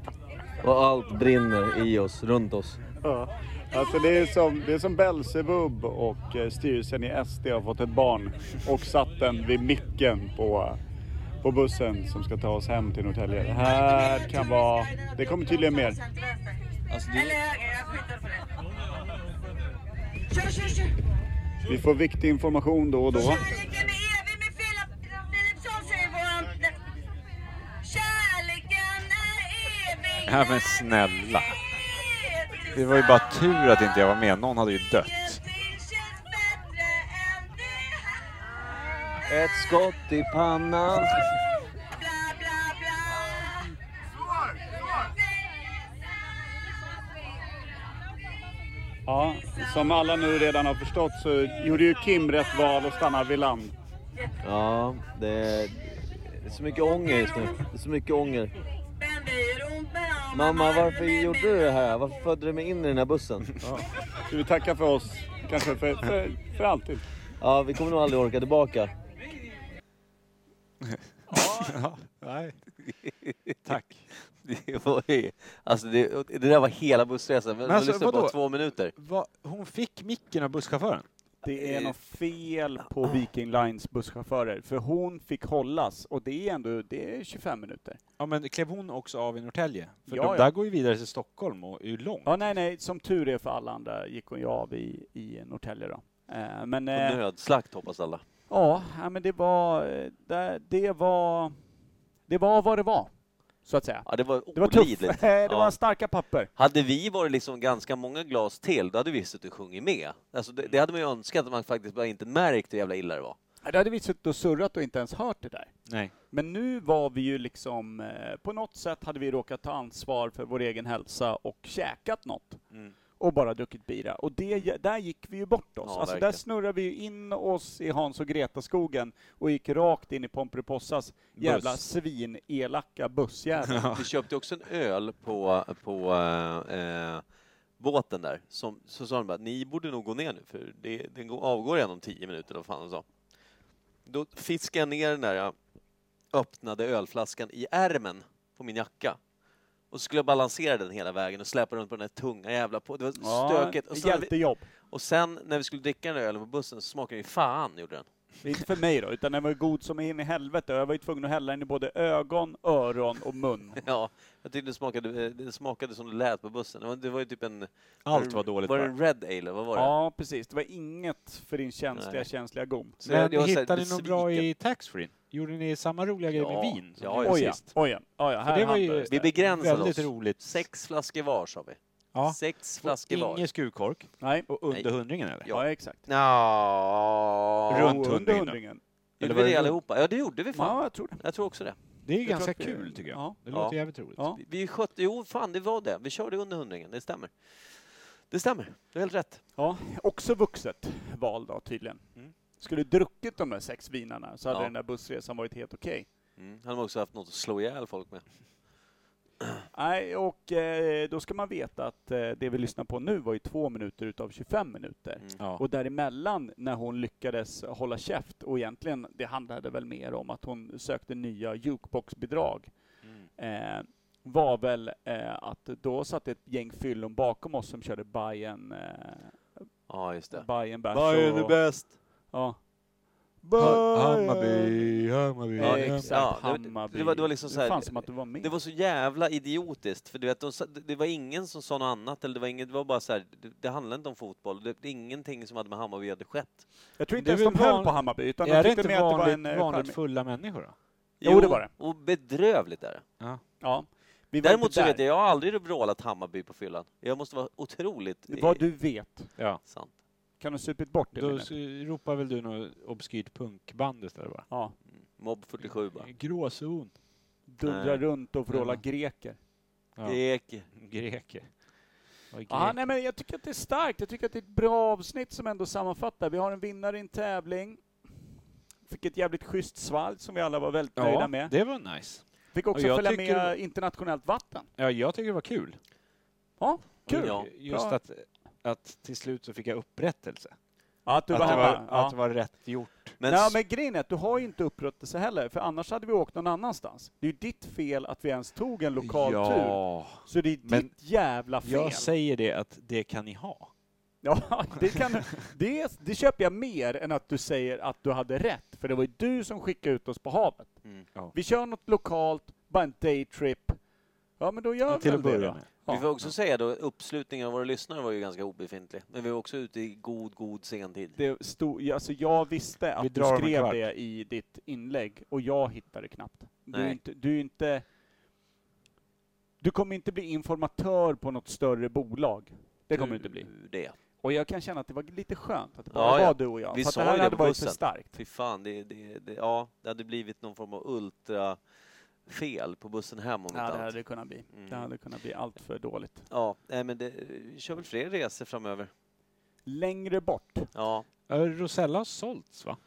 [SPEAKER 10] och allt brinner i oss, runt oss.
[SPEAKER 2] Ja. Alltså det är som, det är som Belsebub och eh, styrelsen i SD har fått ett barn och satt den vid micken på, på bussen som ska ta oss hem till Norrtälje. Det här kan vara... Det kommer tydligen mer.
[SPEAKER 10] det,
[SPEAKER 2] Vi får viktig information då och då.
[SPEAKER 3] Ja men snälla. Det var ju bara tur att inte jag var med. Någon hade ju dött.
[SPEAKER 10] ett skott i pannan.
[SPEAKER 2] Ja, som alla nu redan har förstått så gjorde ju Kim rätt val att stanna vid land.
[SPEAKER 10] Ja, det är det är så mycket ånger just nu. Det är så mycket ånger. Mamma, varför gjorde du det här? Varför födde du mig in i den här bussen?
[SPEAKER 2] Så vi tackar för oss, kanske för, för, för alltid.
[SPEAKER 10] Ja, vi kommer nog aldrig orka tillbaka.
[SPEAKER 3] Ja, nej. Tack.
[SPEAKER 1] Det, var, ju- alltså det, det där var hela bussresan. Men
[SPEAKER 3] alltså,
[SPEAKER 1] lyssnade på
[SPEAKER 3] vadå?
[SPEAKER 1] två minuter.
[SPEAKER 3] Va? Hon fick micken av busschauffören.
[SPEAKER 2] Det är något fel på Viking Lines busschaufförer, för hon fick hållas och det är ändå det är 25 minuter.
[SPEAKER 3] Ja men klev hon också av i Norrtälje? För
[SPEAKER 2] Ja,
[SPEAKER 3] de
[SPEAKER 2] ja.
[SPEAKER 3] där går ju vidare till Stockholm och är ju långt.
[SPEAKER 2] Ja, nej, nej, som tur är för alla andra gick hon ju av i, i Norrtälje då. Eh, Men
[SPEAKER 1] Och
[SPEAKER 2] eh,
[SPEAKER 1] Nödslakt hoppas alla.
[SPEAKER 2] ja, ja, men det var, eh, det, det var, det var vad det var, så att säga.
[SPEAKER 1] Ja, det var
[SPEAKER 2] Det var
[SPEAKER 1] olidligt.
[SPEAKER 2] tufft, det
[SPEAKER 1] Ja.
[SPEAKER 2] var starka papper.
[SPEAKER 1] Hade vi varit liksom ganska många glas till, då hade vi suttit och sjungit med. Alltså det, det hade man ju önskat att man faktiskt bara inte märkt hur jävla illa det var.
[SPEAKER 2] Då hade vi suttit och surrat och inte ens hört det där.
[SPEAKER 3] Nej.
[SPEAKER 2] Men nu var vi ju liksom, eh, på något sätt hade vi råkat ta ansvar för vår egen hälsa och käkat något.
[SPEAKER 3] Mm.
[SPEAKER 2] och bara druckit bira. Och det, där gick vi ju bort oss.
[SPEAKER 1] Ja,
[SPEAKER 2] alltså där
[SPEAKER 1] verkligen.
[SPEAKER 2] snurrade vi ju in oss i Hans och Greta-skogen och gick rakt in i Pomperipossas jävla
[SPEAKER 3] Buss.
[SPEAKER 2] svinelaka bussjävel.
[SPEAKER 1] Vi köpte också en öl på, på eh, eh, båten där. Som, så sa de bara, ni borde nog gå ner nu för det, den går, avgår igen om tio minuter. eller Vad fan de sa. Då fiskade jag ner den där jag öppnade ölflaskan i ärmen på min jacka. Och så skulle jag balansera den hela vägen och släpa runt på den där tunga jävla... På. Det var stökigt. Och, så när vi-
[SPEAKER 2] Hjältejobb.
[SPEAKER 1] och sen när vi skulle dricka den där ölen på bussen så smakade den ju fan, gjorde den.
[SPEAKER 2] Inte för mig då, utan den var ju god som in i helvete. Jag var ju tvungen att hälla den i både ögon, öron och mun.
[SPEAKER 1] Ja, jag tyckte den smakade, eh, den smakade som det lät på bussen. Det var, det var ju typ en...
[SPEAKER 3] Allt var dåligt
[SPEAKER 1] Var det
[SPEAKER 3] bara.
[SPEAKER 1] en Red Ale? eller Vad var det?
[SPEAKER 2] Ja, precis. Det var inget för din känsliga,
[SPEAKER 1] Nej.
[SPEAKER 2] känsliga gom.
[SPEAKER 1] Så jag-
[SPEAKER 3] Men
[SPEAKER 1] jag var så här
[SPEAKER 3] hittade ni något bra
[SPEAKER 1] besviken.
[SPEAKER 3] i taxfree? Gjorde ni samma roliga grej
[SPEAKER 1] Ja,
[SPEAKER 3] med vin? som
[SPEAKER 1] ja,
[SPEAKER 3] ni gjorde
[SPEAKER 1] ja.
[SPEAKER 2] Oj ja,
[SPEAKER 3] sist?
[SPEAKER 2] oj ja. Oj ja,
[SPEAKER 3] För
[SPEAKER 2] här
[SPEAKER 3] det var
[SPEAKER 2] hamnade
[SPEAKER 3] ju
[SPEAKER 2] det.
[SPEAKER 1] Vi begränsade
[SPEAKER 3] väldigt
[SPEAKER 1] oss.
[SPEAKER 3] roligt.
[SPEAKER 1] Sex flaskor var sa vi.
[SPEAKER 3] Ja.
[SPEAKER 1] Sex
[SPEAKER 3] Och
[SPEAKER 1] flaskor var.
[SPEAKER 3] Ingen skurkork?
[SPEAKER 2] Nej.
[SPEAKER 3] Och under hundringen eller?
[SPEAKER 1] Ja.
[SPEAKER 2] Ja, exakt.
[SPEAKER 1] Nja...
[SPEAKER 3] Runt
[SPEAKER 2] Och
[SPEAKER 3] hundringen då.
[SPEAKER 2] hundringen.
[SPEAKER 1] Gjorde
[SPEAKER 3] Eller var
[SPEAKER 1] vi det
[SPEAKER 3] det-
[SPEAKER 1] allihopa? Ja, det gjorde vi fan.
[SPEAKER 2] Ja, jag tror det.
[SPEAKER 1] Jag tror också det.
[SPEAKER 3] Det är ju
[SPEAKER 2] Jag tror
[SPEAKER 3] ganska
[SPEAKER 2] att det-
[SPEAKER 3] kul tycker jag.
[SPEAKER 2] ja.
[SPEAKER 3] Det
[SPEAKER 1] Ja.
[SPEAKER 3] låter jävligt roligt.
[SPEAKER 2] Ja.
[SPEAKER 1] Vi- Vi skötte... Jo, fan det var det. Vi körde under hundringen, det stämmer. Det stämmer. Du har helt rätt.
[SPEAKER 2] Ja, också vuxet val då tydligen.
[SPEAKER 3] Mm.
[SPEAKER 2] Skulle druckit de där sex vinarna så hade
[SPEAKER 1] Ja.
[SPEAKER 2] den där bussresan varit helt okej.
[SPEAKER 1] Mm. Han har också haft något att slå ihjäl folk med.
[SPEAKER 2] Nej, och eh, då ska man veta att eh, det vi lyssnar på nu var ju två minuter utav 25 minuter.
[SPEAKER 1] Mm.
[SPEAKER 3] Ja.
[SPEAKER 2] Och däremellan, när hon lyckades hålla käft, och egentligen det handlade väl mer om att hon sökte nya jukeboxbidrag,
[SPEAKER 1] Mm.
[SPEAKER 2] eh, var väl eh, att då satt ett gäng fyllon bakom oss som körde Bajen, eh,
[SPEAKER 1] Ja, just det.
[SPEAKER 2] Bajen Bärs
[SPEAKER 3] Bayern
[SPEAKER 2] och-
[SPEAKER 3] bäst!
[SPEAKER 2] Ja.
[SPEAKER 3] Hammarby, Hammarby.
[SPEAKER 2] Ja, exakt.
[SPEAKER 1] Ja, det var-
[SPEAKER 2] Hammarby.
[SPEAKER 1] det var- det var liksom så här-
[SPEAKER 2] Det fanns som att du var med.
[SPEAKER 1] Det var så jävla idiotiskt, för du vet, de, sa- det var ingen som sa något annat. Eller det, var inget, det var bara så här, det, det handlade inte om fotboll. Det, det är ingenting som hade med Hammarby hade skett.
[SPEAKER 2] jag tror inte
[SPEAKER 3] det är
[SPEAKER 2] ens de
[SPEAKER 3] väl
[SPEAKER 2] höll
[SPEAKER 3] van-
[SPEAKER 2] på Hammarby, utan de
[SPEAKER 3] Är det
[SPEAKER 2] tyckte
[SPEAKER 3] inte
[SPEAKER 2] mer att det var
[SPEAKER 3] vanligt,
[SPEAKER 2] en eh,
[SPEAKER 3] vanligt
[SPEAKER 2] charmig-
[SPEAKER 3] fulla människor då?
[SPEAKER 2] Jo, det var det.
[SPEAKER 1] Och bedrövligt är det.
[SPEAKER 2] Ja. Vi var
[SPEAKER 1] Däremot
[SPEAKER 2] inte
[SPEAKER 1] så
[SPEAKER 2] där.
[SPEAKER 1] vet jag, jag har aldrig vrålat Hammarby på fyllan. Jag måste vara otroligt...
[SPEAKER 2] Vad du vet.
[SPEAKER 3] Ja.
[SPEAKER 1] Sant.
[SPEAKER 2] Kan du supit bort det?
[SPEAKER 3] Då
[SPEAKER 2] Lennart?
[SPEAKER 3] s- ropar väl du något obskyrt punkband istället bara?
[SPEAKER 2] Ja.
[SPEAKER 1] Mm, Mobb 47 bara.
[SPEAKER 3] Gråzon.
[SPEAKER 2] Dundra
[SPEAKER 1] Nej.
[SPEAKER 2] runt och vråla
[SPEAKER 3] Ja.
[SPEAKER 2] greker.
[SPEAKER 3] Ja.
[SPEAKER 1] Grek.
[SPEAKER 3] Greker. Vad är
[SPEAKER 2] Ja,
[SPEAKER 3] grek?
[SPEAKER 2] nej, men jag tycker att det är starkt. Jag tycker att det är ett bra avsnitt som ändå sammanfattar. Vi har en vinnare i en tävling. Fick ett jävligt schysst svalg som vi alla var väldigt nöjda
[SPEAKER 3] Ja,
[SPEAKER 2] med.
[SPEAKER 3] det var nice.
[SPEAKER 2] Fick också
[SPEAKER 3] och jag
[SPEAKER 2] följa
[SPEAKER 3] tycker-
[SPEAKER 2] med internationellt vatten.
[SPEAKER 3] Ja, jag tycker det var kul.
[SPEAKER 2] Ja, kul!
[SPEAKER 1] Ja.
[SPEAKER 3] Just
[SPEAKER 2] Bra.
[SPEAKER 3] att, att till slut så fick jag upprättelse.
[SPEAKER 2] Ja, att du
[SPEAKER 3] att,
[SPEAKER 2] var
[SPEAKER 3] det
[SPEAKER 2] hemma.
[SPEAKER 3] var,
[SPEAKER 2] ja.
[SPEAKER 3] att det var rätt gjort.
[SPEAKER 1] Men,
[SPEAKER 2] Nej,
[SPEAKER 1] s-
[SPEAKER 2] men grejen är att du har ju inte upprättelse heller, för annars hade vi åkt någon annanstans. Det är ju ditt fel att vi ens tog en lokal tur.
[SPEAKER 3] ja.
[SPEAKER 2] Så det är
[SPEAKER 3] Men
[SPEAKER 2] ditt jävla fel.
[SPEAKER 3] Jag säger det att det kan ni ha.
[SPEAKER 2] Ja, det, kan, det, det köper jag mer än att du säger att du hade rätt, för det var ju du som skickade ut oss på havet.
[SPEAKER 1] Mm.
[SPEAKER 3] Ja.
[SPEAKER 2] Vi kör något lokalt, bara en daytrip. Ja, men då gör vi
[SPEAKER 3] Till
[SPEAKER 2] väl
[SPEAKER 3] att
[SPEAKER 2] det
[SPEAKER 3] börja
[SPEAKER 2] då.
[SPEAKER 3] med.
[SPEAKER 1] vi får också säga då, uppslutningen av våra lyssnare var ju ganska obefintlig. Men vi var också ute i god, god sen tid.
[SPEAKER 2] Det stod, alltså jag visste
[SPEAKER 3] Vi
[SPEAKER 2] att du
[SPEAKER 3] drar om en
[SPEAKER 2] skrev
[SPEAKER 3] kvart.
[SPEAKER 2] det i ditt inlägg, och jag hittade knappt. Du är
[SPEAKER 1] Nej.
[SPEAKER 2] inte... Du, är inte, du kommer inte bli informatör på något större bolag. Det kommer du inte bli.
[SPEAKER 1] Det.
[SPEAKER 2] Och jag kan känna att det var lite skönt att det bara
[SPEAKER 1] Ja, ja.
[SPEAKER 2] var du och jag.
[SPEAKER 1] Vi
[SPEAKER 2] för att
[SPEAKER 1] sa
[SPEAKER 2] det här
[SPEAKER 1] ju det
[SPEAKER 2] hade
[SPEAKER 1] på
[SPEAKER 2] varit för
[SPEAKER 1] bussen.
[SPEAKER 2] starkt.
[SPEAKER 1] Fy fan, det, det, det, ja, det hade blivit någon form av ultra fel på bussen hem om
[SPEAKER 2] Ja,
[SPEAKER 1] inte
[SPEAKER 2] det
[SPEAKER 1] annat.
[SPEAKER 2] hade kunnat bli.
[SPEAKER 1] Mm.
[SPEAKER 2] Det hade kunnat bli allt för dåligt.
[SPEAKER 1] Ja, nej, men det, vi kör väl fler resor framöver.
[SPEAKER 2] Längre bort.
[SPEAKER 1] Ja,
[SPEAKER 3] Ja, Rosella har sålts va?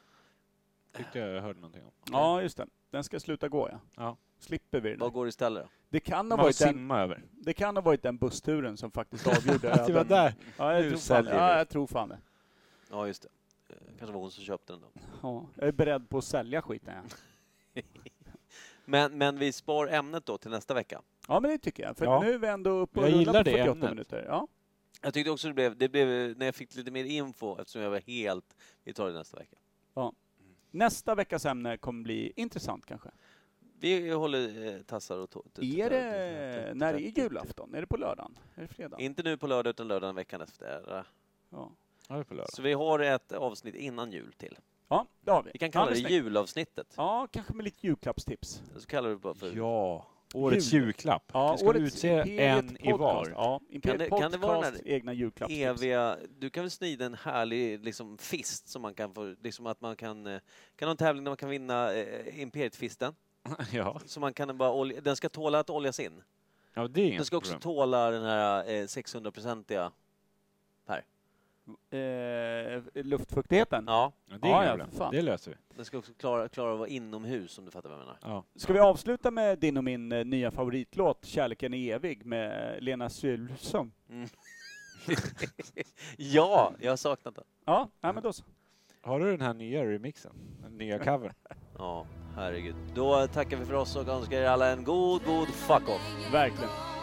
[SPEAKER 3] Tyckte jag hörde någonting om.
[SPEAKER 2] Ja, just det. Den ska sluta gå, ja.
[SPEAKER 3] Ja.
[SPEAKER 2] Slipper vi
[SPEAKER 1] vad
[SPEAKER 2] den.
[SPEAKER 1] går det istället då?
[SPEAKER 2] Det kan, ha
[SPEAKER 3] Man får
[SPEAKER 2] varit den,
[SPEAKER 3] simma över.
[SPEAKER 2] det kan ha varit den bussturen som faktiskt avgjorde
[SPEAKER 3] Att det var
[SPEAKER 2] öden.
[SPEAKER 3] där.
[SPEAKER 2] Ja, jag
[SPEAKER 3] Nu
[SPEAKER 2] tror fan det.
[SPEAKER 3] säljer vi.
[SPEAKER 2] Ja, jag tror fan det.
[SPEAKER 1] Ja, just det. Eh, Kanske var hon som köpte den då.
[SPEAKER 2] Ja. Jag är beredd på att sälja skiten, ja.
[SPEAKER 1] Men, men vi spar ämnet då till nästa vecka.
[SPEAKER 2] Ja, men det tycker jag. För
[SPEAKER 3] Ja.
[SPEAKER 2] nu är vi ändå uppe och
[SPEAKER 3] Jag
[SPEAKER 2] rullar
[SPEAKER 3] gillar
[SPEAKER 2] på
[SPEAKER 3] det
[SPEAKER 2] 48
[SPEAKER 3] ämnet.
[SPEAKER 2] minuter. Ja.
[SPEAKER 1] Jag tyckte också det blev, det blev, när jag fick lite mer info, eftersom jag var helt, vi tar det nästa vecka.
[SPEAKER 2] Nästa veckas ämne kommer bli intressant kanske.
[SPEAKER 1] Vi håller eh, tassar och tå.
[SPEAKER 2] Är det... När är julafton? Är det på lördagen? Är det fredag?
[SPEAKER 1] Inte nu på lördag, utan lördagen veckan efter.
[SPEAKER 2] Ja,
[SPEAKER 3] Ja, det är på lördag.
[SPEAKER 1] Så vi har ett avsnitt innan jul till.
[SPEAKER 2] ja det har vi.
[SPEAKER 1] Vi kan kalla
[SPEAKER 2] ja, men
[SPEAKER 1] det
[SPEAKER 2] snyggt.
[SPEAKER 1] julavsnittet.
[SPEAKER 2] Ja, kanske med lite julklappstips.
[SPEAKER 1] Så kallar vi det bara för...
[SPEAKER 3] Ja, årets
[SPEAKER 2] Jul.
[SPEAKER 3] julklapp.
[SPEAKER 2] Ja,
[SPEAKER 3] vi ska
[SPEAKER 2] årets
[SPEAKER 3] utse
[SPEAKER 2] Imperiet
[SPEAKER 3] en i var.
[SPEAKER 2] Ja, Imperiet
[SPEAKER 1] det-
[SPEAKER 2] Podcast
[SPEAKER 1] kan det vara den här
[SPEAKER 2] egna julklappstips.
[SPEAKER 1] eviga... Du kan väl snida en härlig liksom, fist som man kan få... Liksom att man kan... eh, Kan ha en tävling där man kan vinna eh, Imperiet-fisten.
[SPEAKER 3] ja.
[SPEAKER 1] Så man kan bara olja, den ska tåla att oljas in.
[SPEAKER 3] ja, det är
[SPEAKER 1] Den
[SPEAKER 3] inget
[SPEAKER 1] ska också
[SPEAKER 3] problem.
[SPEAKER 1] tåla den här eh, 600-procentiga
[SPEAKER 2] eh, luftfuktigheten.
[SPEAKER 1] Ja,
[SPEAKER 3] E Ja, det,
[SPEAKER 2] Ja,
[SPEAKER 3] är
[SPEAKER 2] ja,
[SPEAKER 3] inga
[SPEAKER 2] för fan.
[SPEAKER 3] problem. det löser vi.
[SPEAKER 1] den ska också klara, klara att vara inomhus om du fattar vad jag menar.
[SPEAKER 3] Ja.
[SPEAKER 2] Ska vi avsluta med din och min eh, nya favoritlåt Kärleken är evig med Lena Sylvesson?
[SPEAKER 1] Ja, jag har saknat den.
[SPEAKER 2] Ja, ja men då så.
[SPEAKER 3] Har du den här nya remixen? Den nya covern?
[SPEAKER 1] Ja, herregud. Då tackar vi för oss och önskar er alla en god, god fuck-off.
[SPEAKER 2] Verkligen.